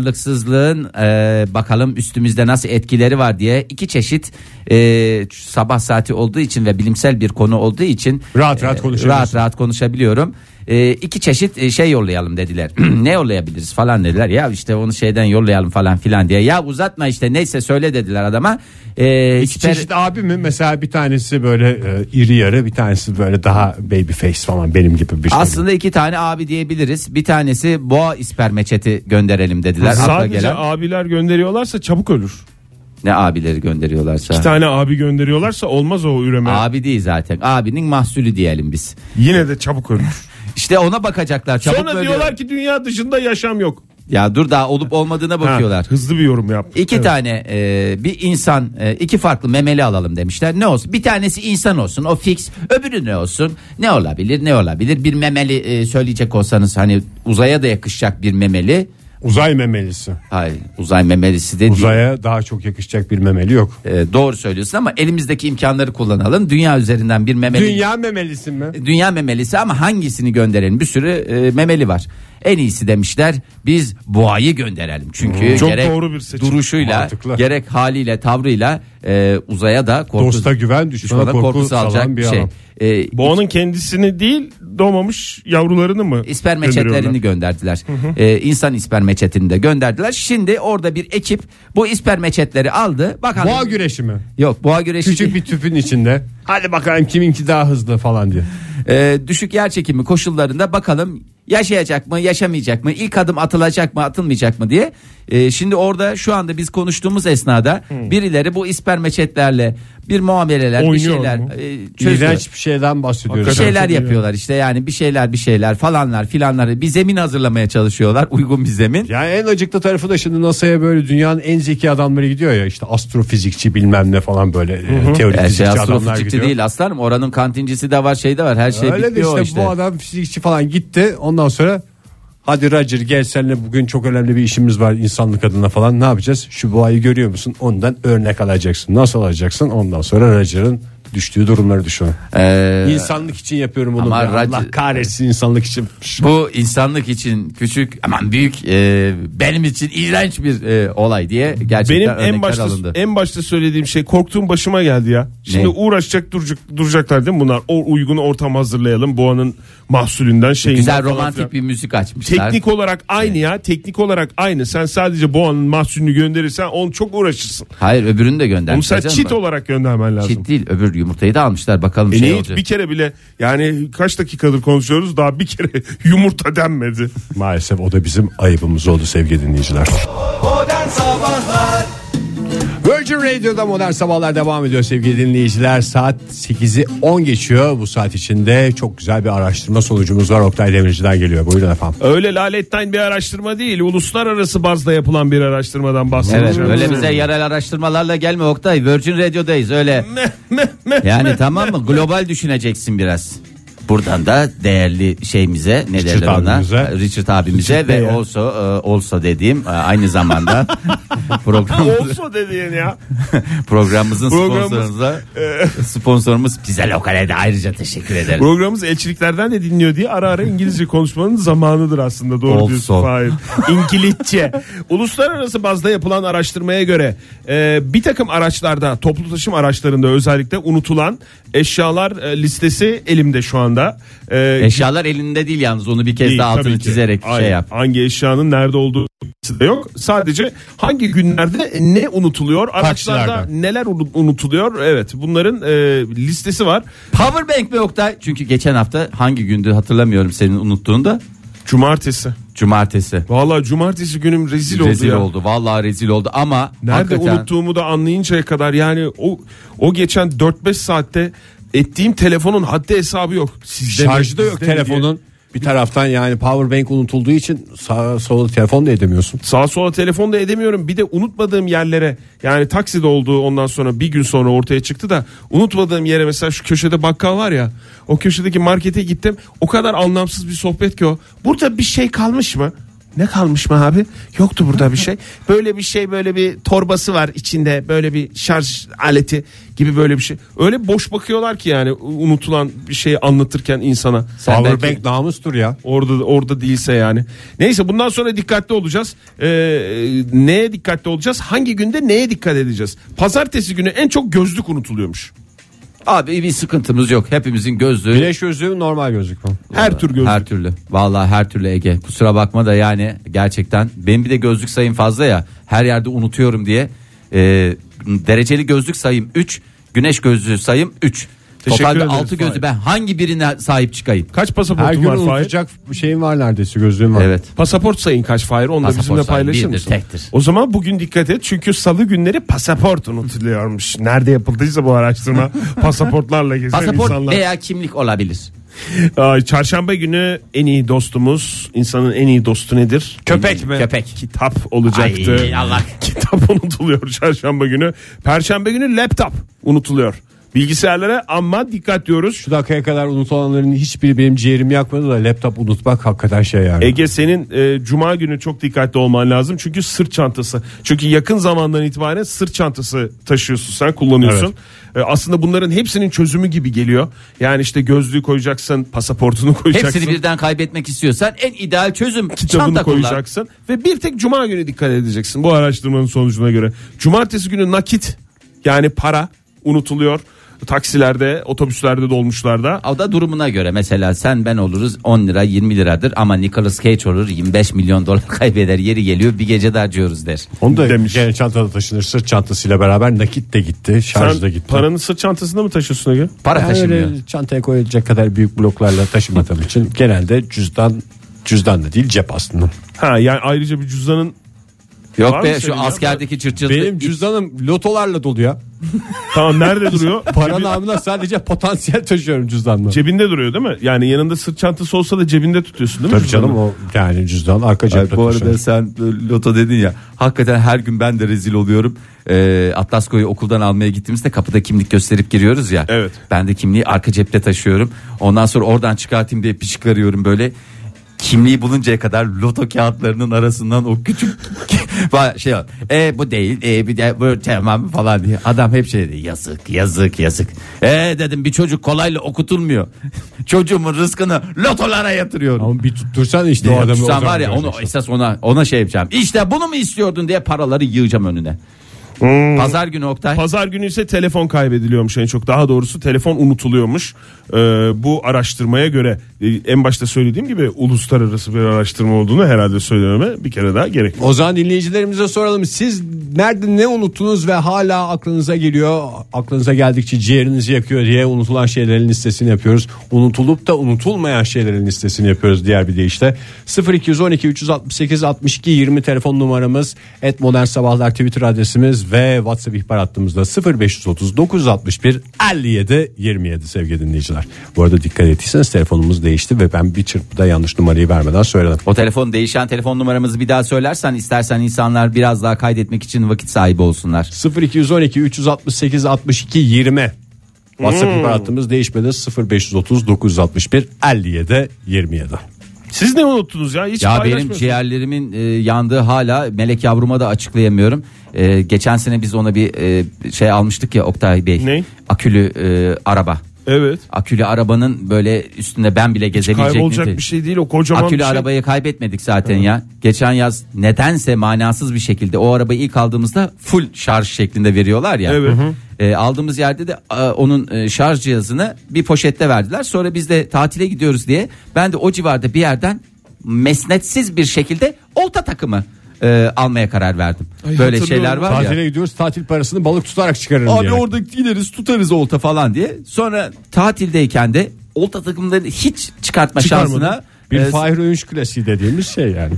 Speaker 5: Ağırlıksızlığın e, bakalım üstümüzde nasıl etkileri var diye iki çeşit e, sabah saati olduğu için ve bilimsel bir konu olduğu için
Speaker 3: Rahat rahat
Speaker 5: e,
Speaker 3: konuşabiliriz.
Speaker 5: rahat rahat konuşabiliyorum. E, iki çeşit e, şey yollayalım dediler. ne yollayabiliriz falan dediler. Ya işte onu şeyden yollayalım falan filan diye. Ya uzatma işte neyse söyle dediler adama. E,
Speaker 3: İki
Speaker 5: süper-
Speaker 4: şey.
Speaker 3: çeşit abi mi? Mesela bir tanesi böyle e, iri yarı bir tanesi böyle daha baby face falan benim gibi bir şey.
Speaker 5: Aslında iki tane abi diyebiliriz. Bir tanesi boğa ispermeçeti gönderelim dediler. Akla
Speaker 4: Sadece
Speaker 5: gelen
Speaker 4: abiler gönderiyorlarsa çabuk ölür.
Speaker 5: ne abileri gönderiyorlarsa.
Speaker 4: Bir tane abi gönderiyorlarsa olmaz o üreme.
Speaker 5: Abi değil zaten. Abinin mahsulü diyelim biz.
Speaker 4: Yine de çabuk ölür.
Speaker 5: İşte ona bakacaklar. Çabuk
Speaker 4: Sonra
Speaker 5: bölüyor-
Speaker 4: diyorlar ki dünya dışında yaşam yok.
Speaker 5: Ya dur daha olup olmadığına
Speaker 4: Ha,
Speaker 5: bakıyorlar.
Speaker 4: hızlı bir yorum yap.
Speaker 5: İki
Speaker 4: Evet.
Speaker 5: tane e, bir insan e, iki farklı memeli alalım demişler. Ne olsun? Bir tanesi insan olsun o fix. Öbürü ne olsun? Ne olabilir? Ne olabilir? Bir memeli e, söyleyecek olsanız hani uzaya da yakışacak bir memeli.
Speaker 3: Uzay memelisi.
Speaker 5: Hayır uzay memelisi de değil.
Speaker 3: Uzaya daha çok yakışacak bir memeli yok.
Speaker 5: E, doğru söylüyorsun ama elimizdeki imkanları kullanalım. Dünya üzerinden bir memeli.
Speaker 3: Dünya memelisi mi?
Speaker 5: Dünya memelisi ama hangisini gönderelim? Bir sürü e, memeli var. En iyisi demişler biz boğayı gönderelim. Çünkü
Speaker 3: Hmm.
Speaker 4: Çok
Speaker 5: gerek
Speaker 4: doğru bir seçim.
Speaker 5: duruşuyla
Speaker 3: Mantıklı.
Speaker 5: gerek haliyle tavrıyla e, uzaya da korku,
Speaker 3: Dosta güven, düşmana
Speaker 5: düşmana
Speaker 3: korku
Speaker 5: korkusu
Speaker 3: salan
Speaker 5: alacak bir
Speaker 3: bir
Speaker 5: şey.
Speaker 3: adam.
Speaker 5: E,
Speaker 4: Boğanın kendisini değil doğmamış yavrularını mı?
Speaker 5: ispermeçetlerini
Speaker 4: gönderiyorlar?
Speaker 5: gönderdiler. E, insan ispermeçetini de gönderdiler. Şimdi orada bir ekip bu ispermeçetleri aldı. Bakalım.
Speaker 3: Boğa güreşi mi?
Speaker 5: Yok boğa güreşi.
Speaker 3: Küçük bir tüpün içinde. Hadi bakalım kiminki daha hızlı falan diye.
Speaker 5: Ee, düşük yer çekimi koşullarında bakalım yaşayacak mı yaşamayacak mı ilk adım atılacak mı atılmayacak mı diye. Ee, şimdi orada şu anda biz konuştuğumuz esnada birileri bu ispermeçetlerle bir muameleler bir
Speaker 4: Oynuyor
Speaker 5: şeyler
Speaker 4: mu?
Speaker 5: e, çözdü.
Speaker 3: İğrenç bir şeyden bahsediyoruz.
Speaker 5: Bir
Speaker 4: Hakikaten.
Speaker 5: şeyler
Speaker 4: Çok iyi.
Speaker 5: yapıyorlar işte yani bir şeyler bir şeyler falanlar filanlar bir zemin hazırlamaya çalışıyorlar uygun bir zemin.
Speaker 3: Yani en acıklı tarafı da şimdi NASA'ya böyle dünyanın en zeki adamları gidiyor ya işte astrofizikçi bilmem ne falan böyle e,
Speaker 5: Her
Speaker 3: teorizikçi
Speaker 5: şey
Speaker 3: adamlar
Speaker 5: astrofizikçi
Speaker 3: gidiyor.
Speaker 5: değil aslanım oranın kantincisi de var şey de var her şey
Speaker 3: Öyle de
Speaker 5: bitiyor
Speaker 3: işte,
Speaker 5: işte.
Speaker 3: bu adam fizikçi falan gitti ondan sonra hadi Roger gel seninle bugün çok önemli bir işimiz var insanlık adına falan ne yapacağız? Şu boğayı görüyor musun? Ondan örnek alacaksın. Nasıl alacaksın? Ondan sonra Roger'ın düştüğü durumları düşün.
Speaker 5: Ee,
Speaker 3: İnsanlık için yapıyorum bunu.
Speaker 5: Ama
Speaker 3: be. Allah
Speaker 5: Roger-
Speaker 3: kahretsin insanlık için.
Speaker 5: Bu insanlık için küçük aman büyük e, benim için iğrenç bir e, olay diye gerçekten
Speaker 4: Benim
Speaker 5: örnekler
Speaker 4: en başta
Speaker 5: alındı.
Speaker 4: en başta söylediğim şey korktuğum başıma geldi ya. Şimdi
Speaker 5: Ne?
Speaker 4: uğraşacak duracak, duracaklar değil mi bunlar? O uygun ortam hazırlayalım boğanın mahsulünden şeyinden.
Speaker 5: Güzel
Speaker 4: falan
Speaker 5: romantik
Speaker 4: filan.
Speaker 5: bir şey. müzik açmışlar.
Speaker 4: Teknik olarak aynı ya teknik olarak aynı. Sen sadece boğanın mahsulünü gönderirsen onu çok uğraşırsın.
Speaker 5: Hayır öbürünü de göndermişler.
Speaker 4: Onu sen
Speaker 5: canım.
Speaker 4: çit olarak göndermen lazım.
Speaker 5: Çit değil öbür yumurtayı da almışlar bakalım
Speaker 4: E
Speaker 5: şey
Speaker 4: neyi-
Speaker 5: olacak.
Speaker 4: bir kere bile yani kaç dakikadır konuşuyoruz daha bir kere yumurta denmedi.
Speaker 3: Maalesef o da bizim ayıbımız oldu sevgili dinleyiciler.
Speaker 2: Modern Sabahlar
Speaker 3: Virgin Radio'da modern sabahlar devam ediyor sevgili dinleyiciler. Saat 8'i 10 geçiyor. Bu saat içinde çok güzel bir araştırma sonucumuz var. Oktay Demirci'den geliyor. Buyurun efendim.
Speaker 4: Öyle laletten bir araştırma değil uluslararası bazda yapılan bir araştırmadan
Speaker 5: Evet
Speaker 4: bahsedeceğim.
Speaker 5: öyle bize yerel araştırmalarla gelme Oktay. Virgin Radio'dayız öyle. yani tamam mı? Global düşüneceksin biraz. Buradan da değerli şeyimize ne
Speaker 3: Richard
Speaker 5: derler ona?
Speaker 3: abimize.
Speaker 5: Richard abimize ve
Speaker 4: Bey'e.
Speaker 5: olsa e, olsa dediğim e, aynı zamanda program
Speaker 4: Olsa dediğin ya.
Speaker 5: programımızın
Speaker 4: Programımız-
Speaker 5: sponsorumuza sponsorumuz Pizza Lokal'e de ayrıca teşekkür ederiz.
Speaker 4: Programımız elçiliklerden de dinliyor diye ara ara İngilizce konuşmanın zamanıdır aslında doğru
Speaker 5: Olsun.
Speaker 4: diyorsun Fahir. İngilizce. Uluslararası bazda yapılan araştırmaya göre e, bir takım araçlarda toplu taşım araçlarında özellikle unutulan eşyalar e, listesi elimde şu anda. E,
Speaker 5: Eşyalar elinde değil yalnız onu bir kez
Speaker 4: Değil,
Speaker 5: daha altını
Speaker 4: tabii ki.
Speaker 5: çizerek
Speaker 4: Hayır,
Speaker 5: şey yap.
Speaker 4: Hangi eşyanın nerede olduğu de yok. Sadece hangi günlerde ne unutuluyor? Araçlarda
Speaker 3: Taksilerden.
Speaker 4: neler unu- unutuluyor? Evet bunların e, listesi var.
Speaker 5: Powerbank mi Oktay? Çünkü geçen hafta hangi gündü hatırlamıyorum senin unuttuğunda.
Speaker 4: Cumartesi.
Speaker 5: Cumartesi.
Speaker 4: Vallahi cumartesi günüm rezil,
Speaker 5: rezil
Speaker 4: oldu ya.
Speaker 5: oldu. Vallahi rezil oldu ama
Speaker 4: Nerede
Speaker 5: hakikaten
Speaker 4: unuttuğumu da anlayıncaya kadar yani o o geçen 4-5 saatte ettiğim telefonun haddi hesabı yok. Sizde mi,
Speaker 3: Şarjı da yok
Speaker 4: bizde mi diye.
Speaker 3: telefonun. Bir taraftan yani power bank unutulduğu için sağa sola telefon da edemiyorsun.
Speaker 4: Sağa sola telefon da edemiyorum. Bir de unutmadığım yerlere yani takside olduğu ondan sonra bir gün sonra ortaya çıktı da unutmadığım yere mesela şu köşede bakkal var ya. O köşedeki markete gittim. O kadar anlamsız bir sohbet ki o. Burada bir şey kalmış mı? Ne kalmış mı abi? Yoktu burada bir şey. Böyle bir şey böyle bir torbası var içinde böyle bir şarj aleti gibi böyle bir şey. Öyle boş bakıyorlar ki yani unutulan bir şeyi anlatırken insana.
Speaker 5: Sen
Speaker 3: power
Speaker 5: belki-
Speaker 3: bank namustur ya.
Speaker 4: Orada orada değilse yani. Neyse bundan sonra dikkatli olacağız. Ee, neye dikkatli olacağız? Hangi günde neye dikkat edeceğiz? Pazartesi günü en çok gözlük unutuluyormuş.
Speaker 5: abi bir sıkıntımız yok. Hepimizin gözlüğü
Speaker 3: Güneş gözlüğü mü, normal gözlük mü?
Speaker 4: Her tür gözlük.
Speaker 5: Her türlü. Vallahi her türlü Ege. Kusura bakma da yani gerçekten benim bir de gözlük sayım fazla ya. Her yerde unutuyorum diye. Ee, dereceli gözlük sayım 3, güneş gözlüğü sayım 3.
Speaker 4: Teşekkür
Speaker 5: Totalde
Speaker 4: ederiz
Speaker 5: 6 gözlü
Speaker 4: Fahir.
Speaker 5: ben hangi birine sahip çıkayım?
Speaker 4: Kaç
Speaker 3: Her
Speaker 4: pasaportun
Speaker 3: gün
Speaker 4: var Fahir?
Speaker 3: unutacak şeyin var neredeyse gözlüğün var.
Speaker 5: Evet.
Speaker 4: Pasaport sayın kaç Fahir? Onu da
Speaker 5: Pasaport
Speaker 4: bizimle
Speaker 5: sayın
Speaker 4: paylaşır
Speaker 5: birdir,
Speaker 4: mısın?
Speaker 5: tektir.
Speaker 4: O zaman bugün dikkat et. Çünkü salı günleri pasaport unutuluyormuş. Nerede yapıldıysa bu araştırma pasaportlarla gezen
Speaker 5: Pasaport
Speaker 4: insanlar.
Speaker 5: veya kimlik olabilir.
Speaker 4: Ay, Çarşamba günü en iyi dostumuz, insanın en iyi dostu nedir?
Speaker 3: Köpek mi?
Speaker 5: Köpek.
Speaker 4: Kitap olacaktı.
Speaker 5: Ay, Allah.
Speaker 4: Kitap unutuluyor çarşamba günü. Perşembe günü laptop unutuluyor. Bilgisayarlara ama dikkat diyoruz.
Speaker 3: Şu dakikaya kadar unutulanların hiçbiri benim ciğerimi yakmadı da laptop unutmak hakikaten şey yani.
Speaker 4: Ege senin e, cuma günü çok dikkatli olman lazım. Çünkü sırt çantası. Çünkü yakın zamandan itibaren sırt çantası taşıyorsun sen kullanıyorsun. E, aslında bunların hepsinin çözümü gibi geliyor. Yani işte gözlüğü koyacaksın, pasaportunu koyacaksın.
Speaker 5: Hepsini birden kaybetmek istiyorsan en ideal çözüm
Speaker 4: kitabını
Speaker 5: çanta kullan.
Speaker 4: koyacaksın ve bir tek cuma günü dikkat edeceksin bu araştırmanın sonucuna göre. Cumartesi günü nakit yani para unutuluyor. Taksilerde, otobüslerde, dolmuşlarda.
Speaker 5: O da durumuna göre mesela sen ben oluruz 10 lira 20 liradır ama Nicolas Cage olur 25 milyon dolar kaybeder yeri geliyor bir gece de harcıyoruz der.
Speaker 3: Onu da gene çantada taşınır sırt çantasıyla beraber nakit de gitti şarj da
Speaker 4: Sen
Speaker 3: gitti.
Speaker 4: paranı sırt çantasında mı taşıyorsun Ege?
Speaker 5: Para
Speaker 3: Yani
Speaker 5: taşımıyor.
Speaker 3: öyle çantaya koyacak kadar büyük bloklarla taşımadığım için genelde cüzdan cüzdan da değil cep aslında.
Speaker 4: Ha yani ayrıca bir cüzdanın Var
Speaker 5: Yok
Speaker 4: mı
Speaker 5: be şu
Speaker 4: senin ya?
Speaker 5: askerdeki çırçırtı.
Speaker 3: Benim cüzdanım lotolarla dolu ya.
Speaker 4: tamam nerede duruyor?
Speaker 3: Para
Speaker 4: Cebi-
Speaker 3: namına sadece potansiyel taşıyorum cüzdanla.
Speaker 4: cebinde duruyor değil mi? Yani yanında sırt çantası olsa da cebinde tutuyorsun değil mi?
Speaker 3: Tabii canım o yani cüzdan arka
Speaker 5: Ay,
Speaker 3: cepte
Speaker 5: bu arada
Speaker 3: taşıyorum.
Speaker 5: sen e, loto dedin ya hakikaten her gün ben de rezil oluyorum. Ee, Atlasko'yu okuldan almaya gittiğimizde kapıda kimlik gösterip giriyoruz ya.
Speaker 4: Evet.
Speaker 5: Ben de kimliği arka cepte taşıyorum. Ondan sonra oradan çıkartayım diye pişik arıyorum böyle. Kimliği buluncaya kadar loto kağıtlarının arasından o küçük Falan şey var. E bu değil. E bir de bu tamam falan diye. Adam hep şey dedi. Yazık yazık yazık. E dedim bir çocuk kolayla okutulmuyor. Çocuğumun rızkını lotolara yatırıyorum.
Speaker 3: Ama bir tuttursan işte o
Speaker 5: Ya
Speaker 3: adamı. o
Speaker 5: sen
Speaker 3: zaman
Speaker 5: var ya onu
Speaker 3: göreceksin.
Speaker 5: esas ona ona şey yapacağım. İşte bunu mu istiyordun diye paraları yığacağım önüne.
Speaker 4: Hmm.
Speaker 5: Pazar günü Oktay.
Speaker 4: Pazar günü ise telefon kaybediliyormuş en çok. Daha doğrusu telefon unutuluyormuş. Ee, bu araştırmaya göre e, en başta söylediğim gibi uluslararası bir araştırma olduğunu herhalde söylememe bir kere daha gerek. yok.
Speaker 3: O zaman dinleyicilerimize soralım. Siz nerede ne unuttunuz ve hala aklınıza geliyor? Aklınıza geldikçe ciğerinizi yakıyor diye unutulan şeylerin listesini yapıyoruz. Unutulup da unutulmayan şeylerin listesini yapıyoruz diğer bir deyişle. 0212 368 62 20 telefon numaramız. Et Modern Sabahlar Twitter adresimiz ve WhatsApp ihbar hattımızda 0530 961 57 27 sevgili dinleyiciler. Bu arada dikkat ettiyseniz telefonumuz değişti ve ben bir çırpıda yanlış numarayı vermeden söyledim.
Speaker 5: O telefon değişen telefon numaramızı bir daha söylersen istersen insanlar biraz daha kaydetmek için vakit sahibi olsunlar.
Speaker 3: 0212 368 62 20 WhatsApp ihbar hattımız değişmedi 0530 961 57 27.
Speaker 4: Siz ne unuttunuz ya? Hiç
Speaker 5: Ya benim
Speaker 4: paylaşmıyorsunuz.
Speaker 5: ciğerlerimin e, yandığı hala melek yavruma da açıklayamıyorum. E, geçen sene biz ona bir e, şey almıştık ya Oktay Bey.
Speaker 4: Ne?
Speaker 5: Akülü e, araba.
Speaker 4: Evet.
Speaker 5: Akülü arabanın böyle üstünde ben bile gezebilecek
Speaker 4: Kaybolacak
Speaker 5: nite-
Speaker 4: bir şey değil o kocaman
Speaker 5: Akülü
Speaker 4: bir şey.
Speaker 5: arabayı kaybetmedik zaten ya. Geçen yaz nedense manasız bir şekilde o arabayı ilk aldığımızda full şarj şeklinde veriyorlar ya.
Speaker 4: Evet. Hı
Speaker 5: E, aldığımız yerde de e, onun e, şarj cihazını bir poşette verdiler. Sonra biz de tatile gidiyoruz diye ben de o civarda bir yerden mesnetsiz bir şekilde olta takımı e, almaya karar verdim. Böyle
Speaker 4: hatırlıyorum.
Speaker 5: şeyler var ya.
Speaker 3: Tatile gidiyoruz tatil parasını balık tutarak çıkarırım
Speaker 5: Abi
Speaker 3: diyerek.
Speaker 5: orada gideriz tutarız olta falan diye. Sonra tatildeyken de olta takımlarını hiç çıkartma şansına
Speaker 3: Bir
Speaker 5: e,
Speaker 3: Fahir Öğünç klasiği dediğimiz şey yani.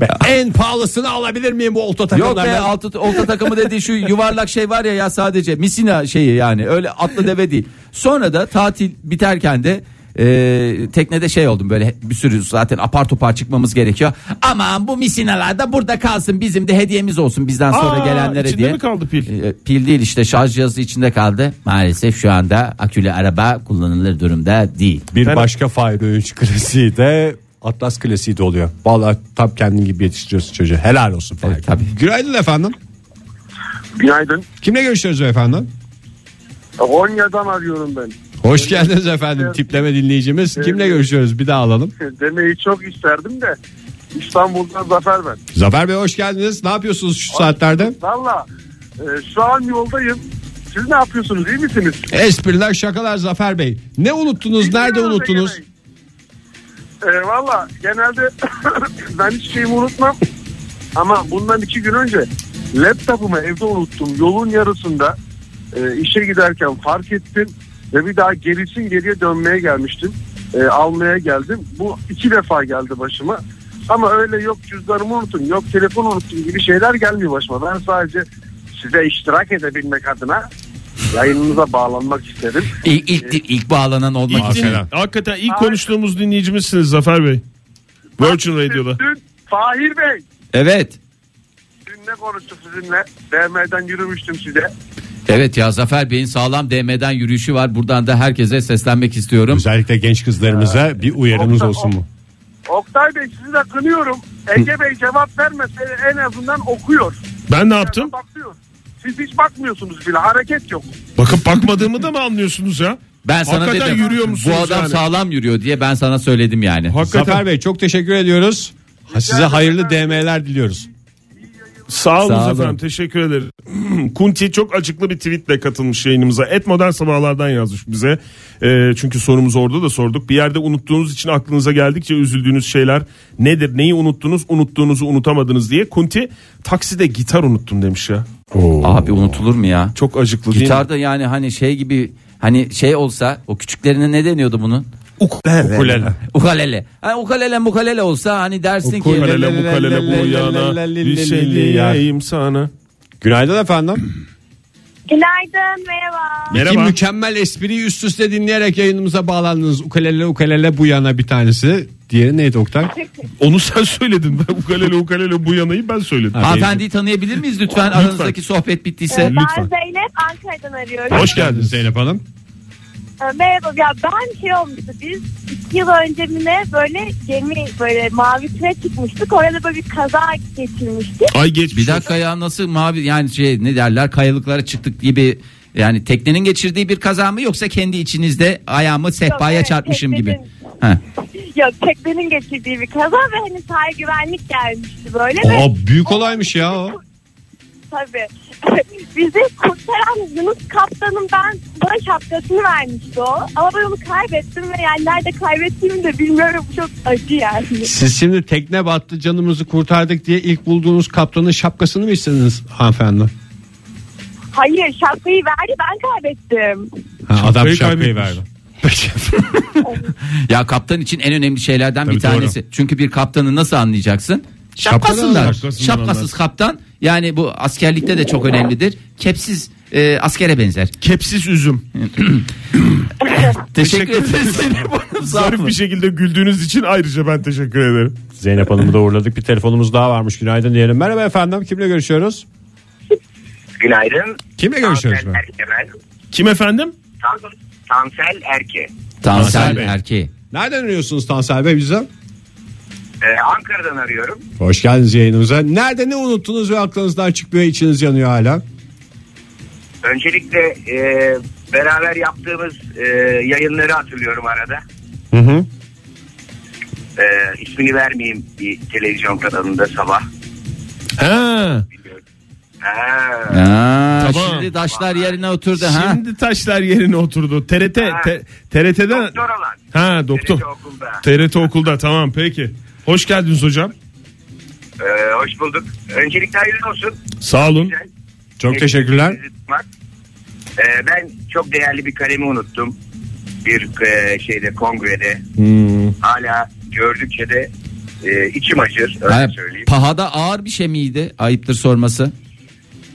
Speaker 3: Ben en pahalısını alabilir miyim bu olta
Speaker 5: Yok be
Speaker 3: takımlardan?
Speaker 5: altı, olta takımı dediği şu yuvarlak şey var ya ya sadece misina şeyi yani öyle atlı deve değil. Sonra da tatil biterken de e, teknede şey oldum böyle bir sürü zaten apar topar çıkmamız gerekiyor. Aman bu misinalar da burada kalsın bizim de hediyemiz olsun bizden sonra
Speaker 4: Aa,
Speaker 5: gelenlere
Speaker 4: içinde
Speaker 5: diye.
Speaker 4: mi kaldı pil?
Speaker 5: E, pil değil işte şarj cihazı içinde kaldı. Maalesef şu anda akülü araba kullanılır durumda değil.
Speaker 3: Bir
Speaker 4: Ben-
Speaker 3: başka Fahir Öğünç klasiği de Atlas klasiği de oluyor. Vallahi tam kendin gibi yetiştiriyorsun çocuğu. Helal olsun Fahir.
Speaker 5: Evet, tabii.
Speaker 3: Günaydın efendim.
Speaker 2: Günaydın.
Speaker 3: Kimle görüşüyoruz efendim?
Speaker 2: Konya'dan arıyorum ben.
Speaker 3: Hoş geldiniz efendim tipleme dinleyicimiz. Kimle görüşüyoruz bir daha alalım.
Speaker 2: Şey, Demeyi çok isterdim de İstanbul'dan Zafer ben.
Speaker 3: Zafer Bey hoş geldiniz. Ne yapıyorsunuz şu saatlerde?
Speaker 2: Valla e, şu an yoldayım. Siz ne yapıyorsunuz iyi misiniz?
Speaker 3: Espriler şakalar Zafer Bey. Ne unuttunuz? Nerede
Speaker 2: Bilmiyorum
Speaker 3: unuttunuz?
Speaker 2: Ege Bey. E, Valla genelde ben hiç şeyimi unutmam. Ama bundan iki gün önce laptopumu evde unuttum. Yolun yarısında e, işe giderken fark ettim. Ve bir daha gerisin geriye dönmeye gelmiştim. E, almaya geldim. Bu iki defa geldi başıma. Ama öyle yok cüzdanımı unuttum, yok telefonu unuttum gibi şeyler gelmiyor başıma. Ben sadece size iştirak edebilmek adına yayınınıza bağlanmak isterim.
Speaker 5: İlk, ilk, ilk bağlanan olmak
Speaker 4: İlk
Speaker 5: için.
Speaker 4: din- hakikaten ilk
Speaker 2: Hayır.
Speaker 4: konuştuğumuz dinleyicimizsiniz Zafer Bey. Virgin Radio'da.
Speaker 2: Dün Fahir Bey
Speaker 5: Evet.
Speaker 2: dün ne konuştuk sizinle? DM'den yürümüştüm size.
Speaker 5: Evet ya Zafer Bey'in sağlam DM'den yürüyüşü var. Buradan da herkese seslenmek istiyorum.
Speaker 3: Özellikle genç kızlarımıza bir uyarımız
Speaker 2: Yoksa
Speaker 3: olsun mu?
Speaker 2: Oktay Bey sizi de kınıyorum. Ege Bey cevap vermese en azından okuyor.
Speaker 4: Ben ne yaptım?
Speaker 2: Bakıyor. Siz hiç bakmıyorsunuz bile hareket yok.
Speaker 4: Bakıp bakmadığımı da mı anlıyorsunuz ya?
Speaker 5: Ben sana
Speaker 4: Hakikaten
Speaker 5: dedim
Speaker 4: yürüyor
Speaker 5: bu
Speaker 4: musunuz
Speaker 5: adam
Speaker 4: yani?
Speaker 5: sağlam yürüyor diye ben sana söyledim yani.
Speaker 4: Hakikaten
Speaker 3: Zafer Bey çok teşekkür ediyoruz. Ha, Size hayırlı DM'ler diliyoruz.
Speaker 4: sağ olun
Speaker 5: Sağ olun.
Speaker 4: efendim teşekkür ederim. Kunti çok acıklı bir tweetle katılmış yayınımıza. Et modern sabahlardan yazmış bize. Ee, çünkü sorumuz orada da sorduk. Bir yerde unuttuğunuz için aklınıza geldikçe üzüldüğünüz şeyler nedir? Neyi unuttunuz? Unuttuğunuzu unutamadınız diye. Kunti takside gitar unuttum demiş ya.
Speaker 5: Abi unutulur mu ya?
Speaker 4: Çok acıklı değil mi?
Speaker 5: Gitarda yani hani şey gibi hani şey olsa o küçüklerine ne deniyordu bunun?
Speaker 4: Ukulele.
Speaker 5: Ukalele. Hani ukalele mukalele olsa hani dersin ki
Speaker 4: Ukulele mukalele bu yana bir şey diyeyim sana.
Speaker 3: Günaydın efendim.
Speaker 6: Günaydın, merhaba.
Speaker 3: İki
Speaker 4: Merhaba.
Speaker 3: mükemmel espriyi üst üste dinleyerek yayınımıza bağlandınız. Ukulele ukulele bu yana bir tanesi. Diğeri neydi Oktay?
Speaker 4: Onu sen söyledin. Ben ukalele ukalele bu yanayı ben söyledim.
Speaker 5: Hanımefendiyi tanıyabilir miyiz lütfen, aranızdaki sohbet bittiyse?
Speaker 6: Ee,
Speaker 4: lütfen.
Speaker 6: Ben Zeynep Ankara'dan arıyorum.
Speaker 4: Hoş geldiniz.
Speaker 3: Zeynep Hanım.
Speaker 6: Ee, Merhaba. Ya ben şey olmuştu. Biz iki yıl önce mi ne böyle gemi böyle mavi tura çıkmıştık. Orada böyle bir kaza geçirmiştik.
Speaker 4: Ay geç.
Speaker 5: Bir dakika ya nasıl mavi yani şey ne derler kayalıklara çıktık gibi yani teknenin geçirdiği bir kaza mı yoksa kendi içinizde ayağımı sehpaya
Speaker 6: evet,
Speaker 5: çarpmışım gibi.
Speaker 6: teknenin.
Speaker 5: Ha.
Speaker 6: Yok teknenin geçirdiği bir kaza ve hani sahil güvenlik gelmişti böyle. Ve
Speaker 3: Aa, büyük olaymış ya o.
Speaker 6: tabii bizi kurtaran Yunus Kaptan'ın ben bana şapkasını vermişti o. Ama ben onu kaybettim ve yani nerede kaybettiğimi de bilmiyorum. Çok acı yani.
Speaker 3: Siz şimdi tekne battı canımızı kurtardık diye ilk bulduğunuz kaptanın şapkasını mı istediniz hanımefendi?
Speaker 6: Hayır şapkayı verdi ben kaybettim.
Speaker 3: Ha, adam
Speaker 4: Şapkayı
Speaker 3: şapkayı
Speaker 4: kaybetmiş.
Speaker 3: verdi.
Speaker 5: Ya kaptan için en önemli şeylerden bir
Speaker 4: Tabii, doğru.
Speaker 5: tanesi. Çünkü bir kaptanı nasıl anlayacaksın?
Speaker 3: Şapkadan
Speaker 5: Şapkasından.
Speaker 4: anlarsın.
Speaker 5: Şapkasız kaptan yani bu askerlikte de çok önemlidir. Kepsiz e, askere benzer.
Speaker 4: Kepsiz üzüm.
Speaker 5: Teşekkür
Speaker 4: Teşekkür
Speaker 5: ederiz. Burnum sağ
Speaker 4: Zarif
Speaker 5: olun.
Speaker 4: bir şekilde güldüğünüz için ayrıca ben teşekkür ederim.
Speaker 3: Zeynep Hanım'ı da uğurladık. Bir telefonumuz daha varmış. Günaydın diyelim. Merhaba efendim. Kimle görüşüyoruz?
Speaker 7: Günaydın.
Speaker 3: Kimle görüşüyoruz?
Speaker 7: Alper Kemal.
Speaker 4: Kim efendim?
Speaker 7: Tan- Tansel Erke.
Speaker 5: Tansel
Speaker 3: Bey.
Speaker 5: erkeği.
Speaker 3: Nereden arıyorsunuz Tansel Bey bize?
Speaker 7: Ee, Ankara'dan arıyorum.
Speaker 3: Hoş geldiniz yayınımıza. Nerede ne unuttunuz ve aklınızdan çıkmıyor içiniz yanıyor hala?
Speaker 7: Öncelikle e, beraber yaptığımız e, yayınları hatırlıyorum arada. Hı hı. ismini vermeyeyim bir televizyon kanalında sabah.
Speaker 4: Ha,
Speaker 7: Ha.
Speaker 5: Aa,
Speaker 4: Tamam.
Speaker 5: Şimdi taşlar yerine oturdu ha.
Speaker 4: şimdi taşlar yerine oturdu. TRT, te- TRT'den...
Speaker 7: Doktor olan.
Speaker 4: Ha doktor.
Speaker 7: TRT okulda.
Speaker 4: TRT okulda tamam peki. Hoş geldiniz hocam.
Speaker 7: Ee, hoş bulduk. Öncelikle hayırlı olsun.
Speaker 4: Sağ olun.
Speaker 7: Güzel.
Speaker 3: Çok teşekkürler.
Speaker 7: Sizi tutmak. Ee, ben çok değerli bir kalemi unuttum. Bir e, şeyde kongrede.
Speaker 3: Hmm.
Speaker 7: Hala gördükçe de e, içim acır. Öyle
Speaker 5: Ha,
Speaker 7: söyleyeyim.
Speaker 5: pahada ağır bir şey miydi? Ayıptır sorması.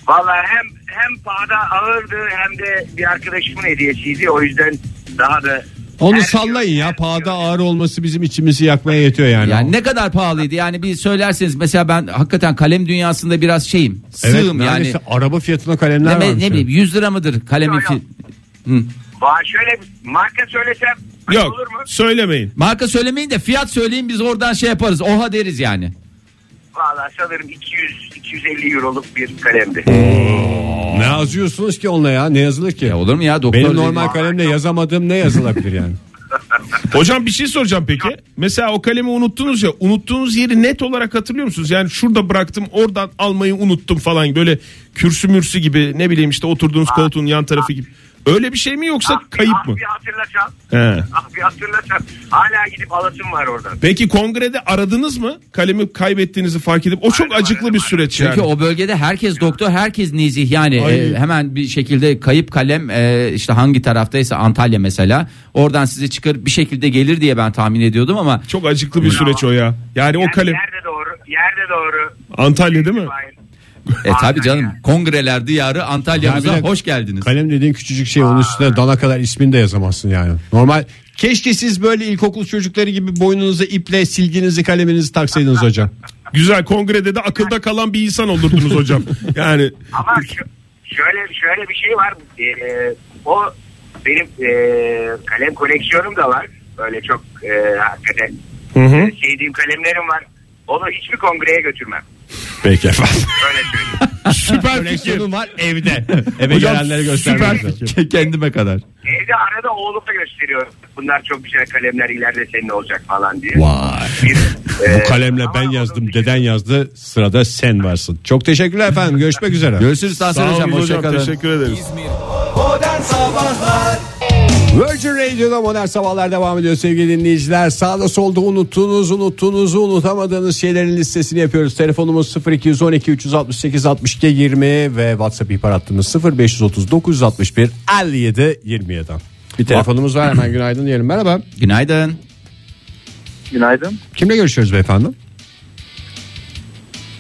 Speaker 7: Valla hem hem pahada ağırdı hem de bir arkadaşımın hediyesiydi. O yüzden daha da
Speaker 3: Onu
Speaker 7: Her-
Speaker 3: sallayın ya. Pahada ağır olması bizim içimizi yakmaya yetiyor yani.
Speaker 5: Yani ne kadar pahalıydı? Yani bir söylerseniz mesela ben hakikaten kalem dünyasında biraz şeyim.
Speaker 3: Evet,
Speaker 5: Sığım yani.
Speaker 3: neredeyse Araba fiyatına kalemler
Speaker 5: Ne,
Speaker 3: varmış.
Speaker 5: ne
Speaker 3: ya.
Speaker 5: bileyim 100 lira mıdır kalemin
Speaker 7: Yok, yok.
Speaker 5: fi-
Speaker 7: Valla şöyle bir marka söylesem ayıp
Speaker 4: Yok
Speaker 7: olur mu?
Speaker 4: söylemeyin.
Speaker 5: Marka söylemeyin de fiyat söyleyin biz oradan şey yaparız. Oha deriz yani.
Speaker 7: Valla sanırım 200-250 euroluk bir kalemdi.
Speaker 3: Ne yazıyorsunuz ki onunla ya? Ne yazılır ki?
Speaker 5: Ya olur mu ya doktor?
Speaker 3: Benim
Speaker 5: dedi.
Speaker 3: normal kalemle yazamadığım ne yazılabilir yani?
Speaker 4: Hocam bir şey soracağım peki. Mesela o kalemi unuttunuz ya. Unuttuğunuz yeri net olarak hatırlıyor musunuz? Yani şurada bıraktım oradan almayı unuttum falan. Böyle kürsü mürsü gibi ne bileyim işte oturduğunuz koltuğun yan tarafı gibi. Öyle bir şey mi yoksa
Speaker 7: Ah,
Speaker 4: kayıp
Speaker 7: ah
Speaker 4: mı?
Speaker 7: bir hatırlasam.
Speaker 4: He.
Speaker 7: Ah bir hatırlasam. Hala gidip alasım var oradan.
Speaker 4: Peki kongrede aradınız mı? Kalemi kaybettiğinizi fark edip o çok
Speaker 7: Aradım,
Speaker 4: acıklı bir
Speaker 7: aradım.
Speaker 4: süreç
Speaker 5: Çünkü
Speaker 4: yani.
Speaker 5: o bölgede herkes doktor, herkes nezih yani
Speaker 4: Ay.
Speaker 5: e, hemen bir şekilde kayıp kalem e, işte hangi taraftaysa Antalya mesela oradan sizi çıkar bir şekilde gelir diye ben tahmin ediyordum ama
Speaker 4: Çok acıklı bir süreç o ya. Yani o
Speaker 7: Yani
Speaker 4: kalem
Speaker 7: Yerde doğru. Yerde doğru.
Speaker 4: Antalya değil mi?
Speaker 7: Hayır.
Speaker 5: e, tabi canım kongreler diyarı Antalya'mıza
Speaker 3: Ya bir de-
Speaker 5: hoş geldiniz.
Speaker 3: Kalem dediğin küçücük şey onun üstüne dana kadar ismini de yazamazsın yani. Normal keşke siz böyle ilkokul çocukları gibi boynunuza iple silginizi kaleminizi taksaydınız hocam.
Speaker 4: Güzel kongrede de akılda kalan bir insan olurdunuz hocam. Yani
Speaker 7: Ama şu- şöyle şöyle bir şey var. Ee, o benim ee, kalem koleksiyonum da var. Böyle çok ee, hakikaten ee, sevdiğim kalemlerim var. Onu hiçbir kongreye götürmem.
Speaker 3: Peki efendim.
Speaker 7: Öyle söyleyeyim.
Speaker 4: süper fikir.
Speaker 3: var evde. Eve
Speaker 4: Hocam,
Speaker 3: gelenlere
Speaker 4: süper
Speaker 3: göstermek lazım.
Speaker 4: fikir.
Speaker 5: Kendime kadar.
Speaker 7: Evde arada oğluma gösteriyorum. Bunlar çok güzel kalemler ileride senin olacak falan diye.
Speaker 3: Vay.
Speaker 7: Bir, ee,
Speaker 3: Bu kalemle ben
Speaker 7: ama
Speaker 3: yazdım
Speaker 7: onun-
Speaker 3: deden yazdı sırada sen varsın. Çok teşekkürler efendim görüşmek üzere.
Speaker 5: Görüşürüz Tansel
Speaker 4: Sağ olun
Speaker 5: Hocam hoşça
Speaker 4: hocam
Speaker 5: kalın.
Speaker 4: teşekkür ederiz.
Speaker 2: Modern Sabahlar
Speaker 3: Virgin Radio'da modern sabahlar devam ediyor sevgili dinleyiciler. Sağda solda unuttuğunuz, unuttuğunuzu unutamadığınız şeylerin listesini yapıyoruz. Telefonumuz 0212 368 62 20 ve WhatsApp ihbar hattımız 0530 961 57 27. Bir telefonumuz var hemen günaydın diyelim. Merhaba.
Speaker 5: Günaydın.
Speaker 8: Günaydın.
Speaker 3: Kimle görüşüyoruz beyefendi?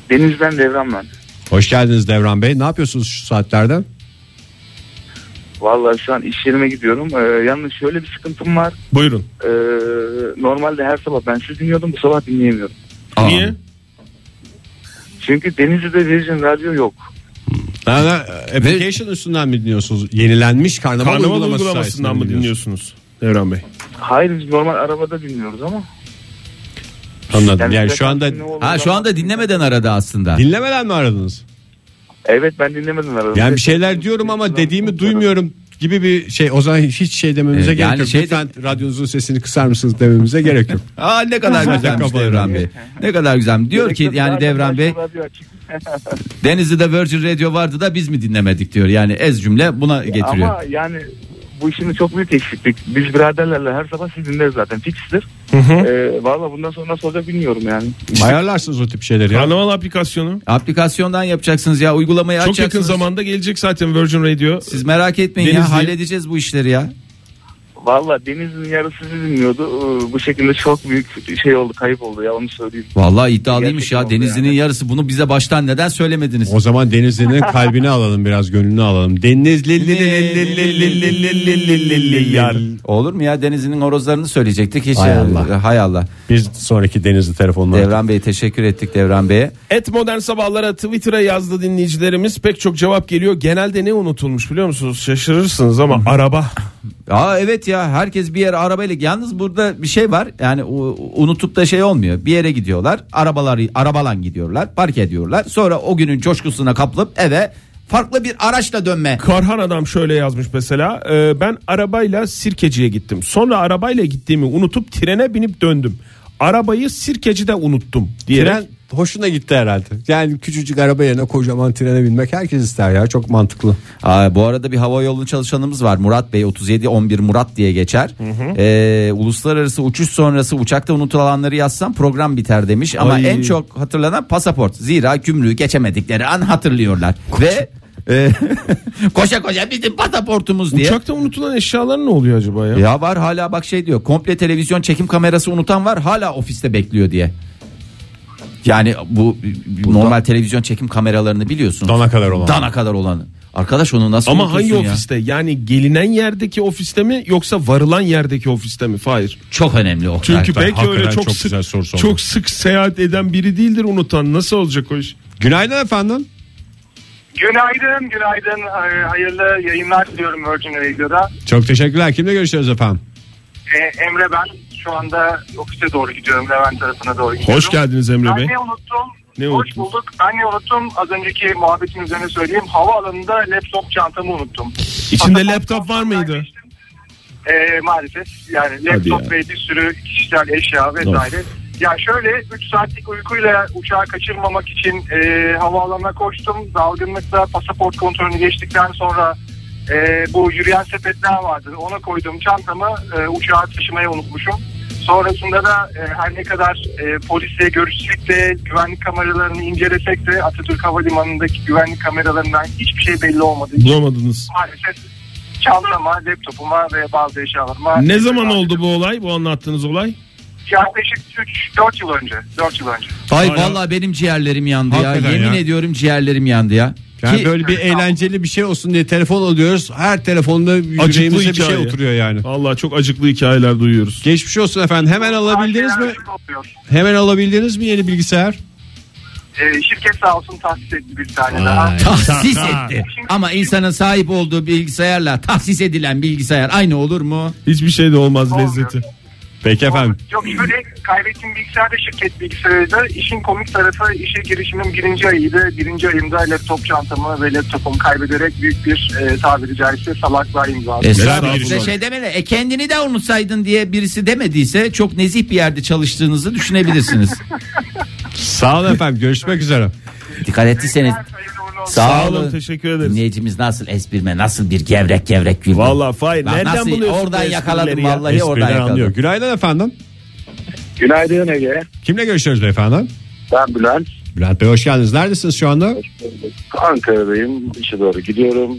Speaker 8: Denizden Devran ben.
Speaker 3: Hoş geldiniz Devran Bey. Ne yapıyorsunuz şu saatlerde?
Speaker 8: Vallahi şu an iş yerime gidiyorum. Ee, yalnız şöyle bir sıkıntım var.
Speaker 4: Buyurun.
Speaker 8: Ee, normalde her sabah ben sizi dinliyordum. Bu sabah dinleyemiyorum.
Speaker 5: Aa,
Speaker 4: Niye?
Speaker 8: Çünkü Denizli'de Virgin Radyo yok.
Speaker 3: application üstünden mi dinliyorsunuz? Yenilenmiş karnaval,
Speaker 4: Karnaval
Speaker 3: uygulaması sayesinde
Speaker 4: uygulamasından mı dinliyorsunuz? Devran Bey.
Speaker 8: Hayır biz normal arabada dinliyoruz ama.
Speaker 3: Anladım. Yani
Speaker 8: size
Speaker 3: şu anda
Speaker 8: ne olduğunu
Speaker 5: Ha şu anda
Speaker 8: anlatayım.
Speaker 5: dinlemeden aradı aslında.
Speaker 3: dinlemeden mi aradınız?
Speaker 8: Evet ben dinlemedim arabada.
Speaker 3: Yani bir
Speaker 5: şey-
Speaker 3: şeyler diyorum ama dediğimi duymuyorum gibi bir şey. O zaman hiç şey dememize
Speaker 5: Evet,
Speaker 3: gerek
Speaker 5: yani
Speaker 3: yok.
Speaker 5: şey de-
Speaker 3: Lütfen radyonuzun sesini kısar mısınız dememize gerek yok.
Speaker 5: Aa ne kadar güzelmiş
Speaker 3: kapalı.
Speaker 5: Devran Bey. Ne kadar güzel. Diyor ki
Speaker 8: Gerekirse
Speaker 5: yani
Speaker 8: zaten
Speaker 5: Devran
Speaker 8: ben
Speaker 5: Bey
Speaker 8: şu radyo açık.
Speaker 5: Denizli'de Virgin Radio vardı da biz mi dinlemedik diyor. Yani ez cümle buna getiriyor.
Speaker 8: Ama yani bu işimiz çok büyük eksiklik. Biz biraderlerle her sabah siz dinleriz zaten. Fixtir. Ee, Valla bundan sonra nasıl olacak bilmiyorum yani.
Speaker 3: Ayarlarsınız o tip şeyleri ya.
Speaker 4: Karnaval aplikasyonu.
Speaker 5: Aplikasyondan yapacaksınız ya uygulamayı
Speaker 4: Çok yakın
Speaker 5: açacaksınız.
Speaker 4: zamanda gelecek zaten Virgin Radio.
Speaker 5: Siz merak etmeyin
Speaker 4: Denizli-
Speaker 5: ya halledeceğiz bu işleri ya.
Speaker 8: Valla denizin yarısı sizi dinliyordu. Ee, Bu şekilde çok büyük şey oldu kayıp oldu ya onu söyleyeyim.
Speaker 5: Vallahi iddialıymış ya.
Speaker 8: Gerçekten oldu
Speaker 5: Denizli'nin
Speaker 8: yani.
Speaker 5: yarısı. Bunu bize baştan neden söylemediniz?
Speaker 3: O zaman Denizli'nin kalbini alalım biraz gönlünü alalım. Denizli
Speaker 5: Olur mu ya Denizli'nin horozlarını söyleyecektik hiç.
Speaker 3: Hay
Speaker 5: e,
Speaker 3: Allah.
Speaker 5: Hay Allah.
Speaker 3: Biz sonraki Denizli telefonuna
Speaker 5: Devran Bey'e teşekkür ettik Devran Bey'e.
Speaker 4: Et modern sabahlara Twitter'a yazdı dinleyicilerimiz pek çok cevap geliyor. Genelde ne unutulmuş biliyor musunuz? Şaşırırsınız ama araba.
Speaker 5: Aa evet ya herkes bir yere arabayla yalnız burada bir şey var. Yani u- unutup da şey olmuyor. Bir yere gidiyorlar. Arabalar arabalan gidiyorlar. Park ediyorlar. Sonra o günün coşkusuna kapılıp eve farklı bir araçla dönme.
Speaker 4: Karhan adam şöyle yazmış mesela. e, ben arabayla sirkeciye gittim. Sonra arabayla gittiğimi unutup trene binip döndüm. Arabayı sirkecide unuttum diyerek.
Speaker 3: Tren hoşuna gitti herhalde. Yani küçücük araba yerine kocaman trene binmek herkes ister ya. Çok mantıklı.
Speaker 5: Aa, bu arada bir hava yolunun çalışanımız var. Murat Bey 3711 Murat diye geçer. Ee, uluslararası uçuş sonrası uçakta unutulanları yazsam program biter demiş. Ama
Speaker 4: Ay.
Speaker 5: en çok hatırlanan pasaport. Zira gümrüğü geçemedikleri an hatırlıyorlar. Ve e, koşa koşa bizim pasaportumuz diye.
Speaker 4: Uçakta unutulan eşyalar ne oluyor acaba ya?
Speaker 5: Ya var hala bak şey diyor. Komple televizyon çekim kamerası unutan var. Hala ofiste bekliyor diye. Yani bu normal televizyon çekim kameralarını biliyorsun.
Speaker 3: Dana kadar olan.
Speaker 5: Dana kadar olanı. Arkadaş onu nasıl
Speaker 4: Ama
Speaker 5: unutursun
Speaker 4: hangi
Speaker 5: ya?
Speaker 4: ofiste? Yani gelinen yerdeki ofiste mi yoksa varılan yerdeki ofiste mi? Hayır.
Speaker 5: Çok önemli o.
Speaker 4: Çünkü
Speaker 5: karakter.
Speaker 4: belki
Speaker 3: hakikaten
Speaker 4: öyle çok,
Speaker 3: çok
Speaker 4: sık
Speaker 3: güzel soru sordun.
Speaker 4: çok sık seyahat eden biri değildir unutan. Nasıl olacak o iş?
Speaker 3: Günaydın efendim.
Speaker 9: Günaydın, günaydın. Ee, Hayırlı yayınlar diliyorum Virgin Radio'da.
Speaker 3: Çok teşekkürler. Kimle görüşüyoruz efendim?
Speaker 9: Ee, Emre ben. Şu anda ofise doğru gidiyorum. Levent tarafına doğru gidiyorum.
Speaker 4: Hoş geldiniz Emre Bey.
Speaker 9: Ben ne unuttum?
Speaker 4: Ne
Speaker 9: Hoş
Speaker 4: unuttunuz?
Speaker 9: bulduk. Ben ne unuttum? Az önceki muhabbetin üzerine söyleyeyim. Havaalanında laptop çantamı unuttum.
Speaker 4: İçinde
Speaker 9: Hatta
Speaker 4: laptop var mıydı?
Speaker 9: Ee, maalesef yani laptop
Speaker 4: ya.
Speaker 9: ve bir sürü kişisel eşya vesaire. Ya şöyle 3 saatlik uykuyla uçağı kaçırmamak için e, havaalanına koştum. Dalgınlıkla pasaport kontrolünü geçtikten sonra e, bu yürüyen sepetler vardı. Ona koyduğum çantamı e, uçağa taşımayı unutmuşum. Sonrasında da e, her ne kadar e, polisle görüşsek de güvenlik kameralarını incelesek de Atatürk Havalimanı'ndaki güvenlik kameralarından hiçbir şey belli olmadı
Speaker 4: Bulamadınız.
Speaker 9: maalesef çantama, laptopuma ve bazı eşyalarıma.
Speaker 4: Ne zaman oldu bu olay? Bu anlattığınız olay?
Speaker 9: Yaklaşık 3-4 yıl önce. 4 yıl önce.
Speaker 5: Ay
Speaker 4: Hala-
Speaker 5: vallahi benim ciğerlerim yandı ya.
Speaker 3: Hakikaten
Speaker 5: Yemin
Speaker 3: ya.
Speaker 5: ediyorum ciğerlerim yandı ya.
Speaker 3: Yani
Speaker 5: Ki-
Speaker 3: böyle bir eğlenceli bir şey olsun diye telefon alıyoruz. Her telefonda
Speaker 4: Acıklı
Speaker 3: yüreğimize bir
Speaker 4: hikaye.
Speaker 3: şey oturuyor yani.
Speaker 4: Allah çok acıklı hikayeler duyuyoruz.
Speaker 3: Geçmiş olsun efendim. Hemen alabildiniz mi? Hemen alabildiniz mi yeni bilgisayar?
Speaker 9: Ee, şirket sağ olsun tahsis etti bir tane daha.
Speaker 3: Ay.
Speaker 5: tahsis Ah, etti. Ama insanın sahip olduğu bilgisayarla tahsis edilen bilgisayar aynı olur mu?
Speaker 4: Hiçbir şey de olmaz
Speaker 9: Olmuyor.
Speaker 4: lezzeti.
Speaker 3: Peki efendim.
Speaker 9: Yok şöyle kaybettiğim bilgisayar da şirket bilgisayarıydı. İşin komik tarafı işe girişimin birinci ayıydı. Birinci ayımda laptop çantamı ve laptopumu kaybederek büyük bir e, tabiri caizse salaklığa imza attım.
Speaker 5: Estağfurullah.
Speaker 4: bilgisayar?
Speaker 5: şey demedi. E kendini de unutsaydın diye birisi demediyse çok nezih bir yerde çalıştığınızı düşünebilirsiniz.
Speaker 3: Sağ olun efendim. Görüşmek üzere.
Speaker 5: Dikkat ettiyseniz.
Speaker 9: Hayırlı uğurlu olsun.
Speaker 5: Sağ
Speaker 4: Sağ olun
Speaker 5: olun.
Speaker 4: teşekkür ederiz.
Speaker 5: Dinleyicimiz nasıl esprime nasıl bir gevrek gevrek güldü.
Speaker 4: Vallahi Fahir
Speaker 5: Bak
Speaker 4: nereden
Speaker 5: nasıl-
Speaker 4: buluyorsun bu
Speaker 5: Oradan
Speaker 4: esprileri
Speaker 5: yakaladım
Speaker 4: ya?
Speaker 5: vallahi oradan
Speaker 3: Espriden anlıyor.
Speaker 5: yakaladım.
Speaker 3: Günaydın efendim.
Speaker 8: Günaydın Ege.
Speaker 3: Kimle görüşüyoruz beyefendi?
Speaker 8: Ben Bülent.
Speaker 3: Bülent Bey hoş geldiniz. Neredesiniz şu anda?
Speaker 8: Ankara'dayım. İşe doğru gidiyorum.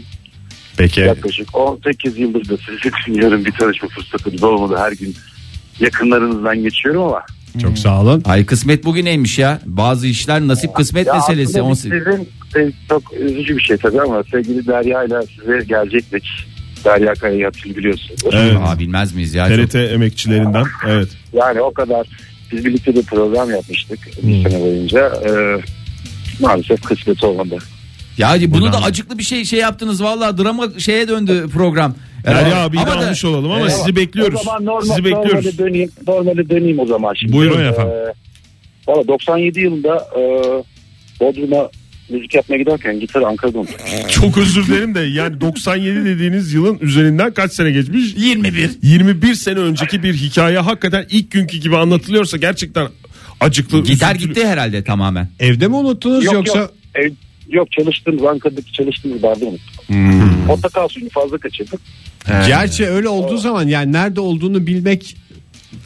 Speaker 3: Peki.
Speaker 8: Yaklaşık 18 yıldır da sizi dinliyorum. Bir tanışma fırsatımız olmadı. Her gün yakınlarınızdan geçiyorum ama.
Speaker 3: Çok sağ olun.
Speaker 5: Ay kısmet bugüneymiş ya. Bazı işler nasip kısmet
Speaker 8: Ya
Speaker 5: meselesi.
Speaker 8: aslında
Speaker 5: On-
Speaker 8: biz Sizin e, çok üzücü bir şey tabii ama sevgili Derya ile size gelecektik. Derya Kaya'yı hatırlıyor biliyorsunuz.
Speaker 4: Evet.
Speaker 5: Aa, bilmez miyiz ya? Çok-
Speaker 4: TRT emekçilerinden. Evet.
Speaker 8: Yani o kadar biz birlikte de program yapmıştık
Speaker 5: Hmm.
Speaker 8: bir sene boyunca. E, maalesef kısmet olmadı.
Speaker 5: Ya hadi bunu da acıklı bir şey şey yaptınız vallahi drama şeye döndü program. Ee,
Speaker 4: Derya abiyi de
Speaker 5: Ama da-
Speaker 4: almış olalım ama
Speaker 3: e,
Speaker 5: Evet.
Speaker 4: sizi bekliyoruz.
Speaker 8: O zaman normal,
Speaker 4: sizi bekliyoruz.
Speaker 8: Normale döneyim, normale döneyim o zaman şimdi.
Speaker 4: Buyurun
Speaker 3: efendim.
Speaker 8: Ee, Valla 97 yılında e, Bodrum'a müzik yapmaya giderken gitarı Ankara'da unuttum.
Speaker 4: Çok özür dilerim de yani 97 dediğiniz yılın üzerinden kaç sene geçmiş?
Speaker 5: 21.
Speaker 4: 21 sene önceki bir hikaye hakikaten ilk günkü gibi anlatılıyorsa gerçekten acıklı.
Speaker 5: Gitar
Speaker 4: üzüntülü-
Speaker 5: gitti herhalde tamamen.
Speaker 3: Evde mi unuttunuz
Speaker 8: Yok,
Speaker 3: yoksa?
Speaker 8: yok. Ev- yok çalıştığımız Ankara'daki çalıştığımız barda unuttum.
Speaker 4: Hmm.
Speaker 8: Portakal suyunu fazla kaçırdık. Ee,
Speaker 3: Gerçi öyle olduğu zaman yani nerede olduğunu bilmek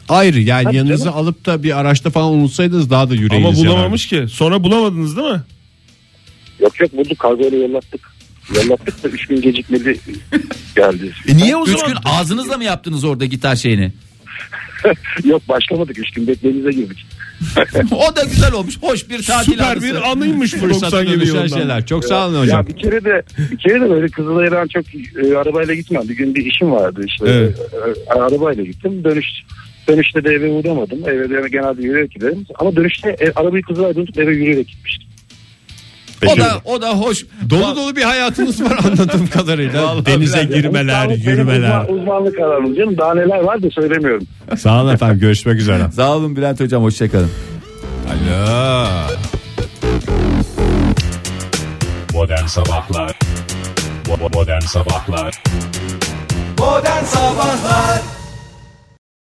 Speaker 3: ayrı. Yani
Speaker 8: Tabii
Speaker 3: yanınıza
Speaker 8: canım.
Speaker 3: alıp da bir araçta falan unutsaydınız daha da yüreğiniz
Speaker 4: Ama
Speaker 3: yanardı.
Speaker 4: bulamamış ki. Sonra bulamadınız değil mi?
Speaker 8: Yok yok bulduk kargoyla yollattık. Yollattık da 3 gün gecikmedi geldi.
Speaker 4: E niye o
Speaker 5: Üç
Speaker 4: zaman?
Speaker 5: gün ağzınızla mı yaptınız orada gitar şeyini?
Speaker 4: E-
Speaker 8: Yok başlamadık 3 gün beklenize girdik.
Speaker 5: o da güzel olmuş. Hoş bir tatil
Speaker 4: Süper
Speaker 5: anısı.
Speaker 4: bir anıymış bu 90
Speaker 3: Satın
Speaker 4: gibi
Speaker 3: düşen
Speaker 4: yılından.
Speaker 3: şeyler. Çok sağ olun
Speaker 8: Ya
Speaker 3: hocam.
Speaker 8: bir kere de bir kere de böyle Kızılay'dan çok e, arabayla gitmem. Bir gün bir işim vardı işte.
Speaker 4: Evet.
Speaker 8: E, arabayla gittim. Dönüş dönüşte de eve uğramadım. Eve de genelde yürüyerek giderim. Ama dönüşte e, arabayı Kızılay'dan tutup eve yürüyerek gitmiştim.
Speaker 5: O da o da hoş.
Speaker 3: Dolu dolu bir hayatınız var anladığım kadarıyla. Denize girmeler,
Speaker 8: Benim uzman-
Speaker 3: yürümeler.
Speaker 8: uzmanlık alanım canım. Daha neler var da söylemiyorum.
Speaker 3: Sağ olun efendim. Görüşmek üzere.
Speaker 5: Sağ olun Bülent hocam hoşçakalın.
Speaker 3: Alo.
Speaker 1: Modern Sabahlar Bo- bo- Modern Sabahlar
Speaker 2: Modern Sabahlar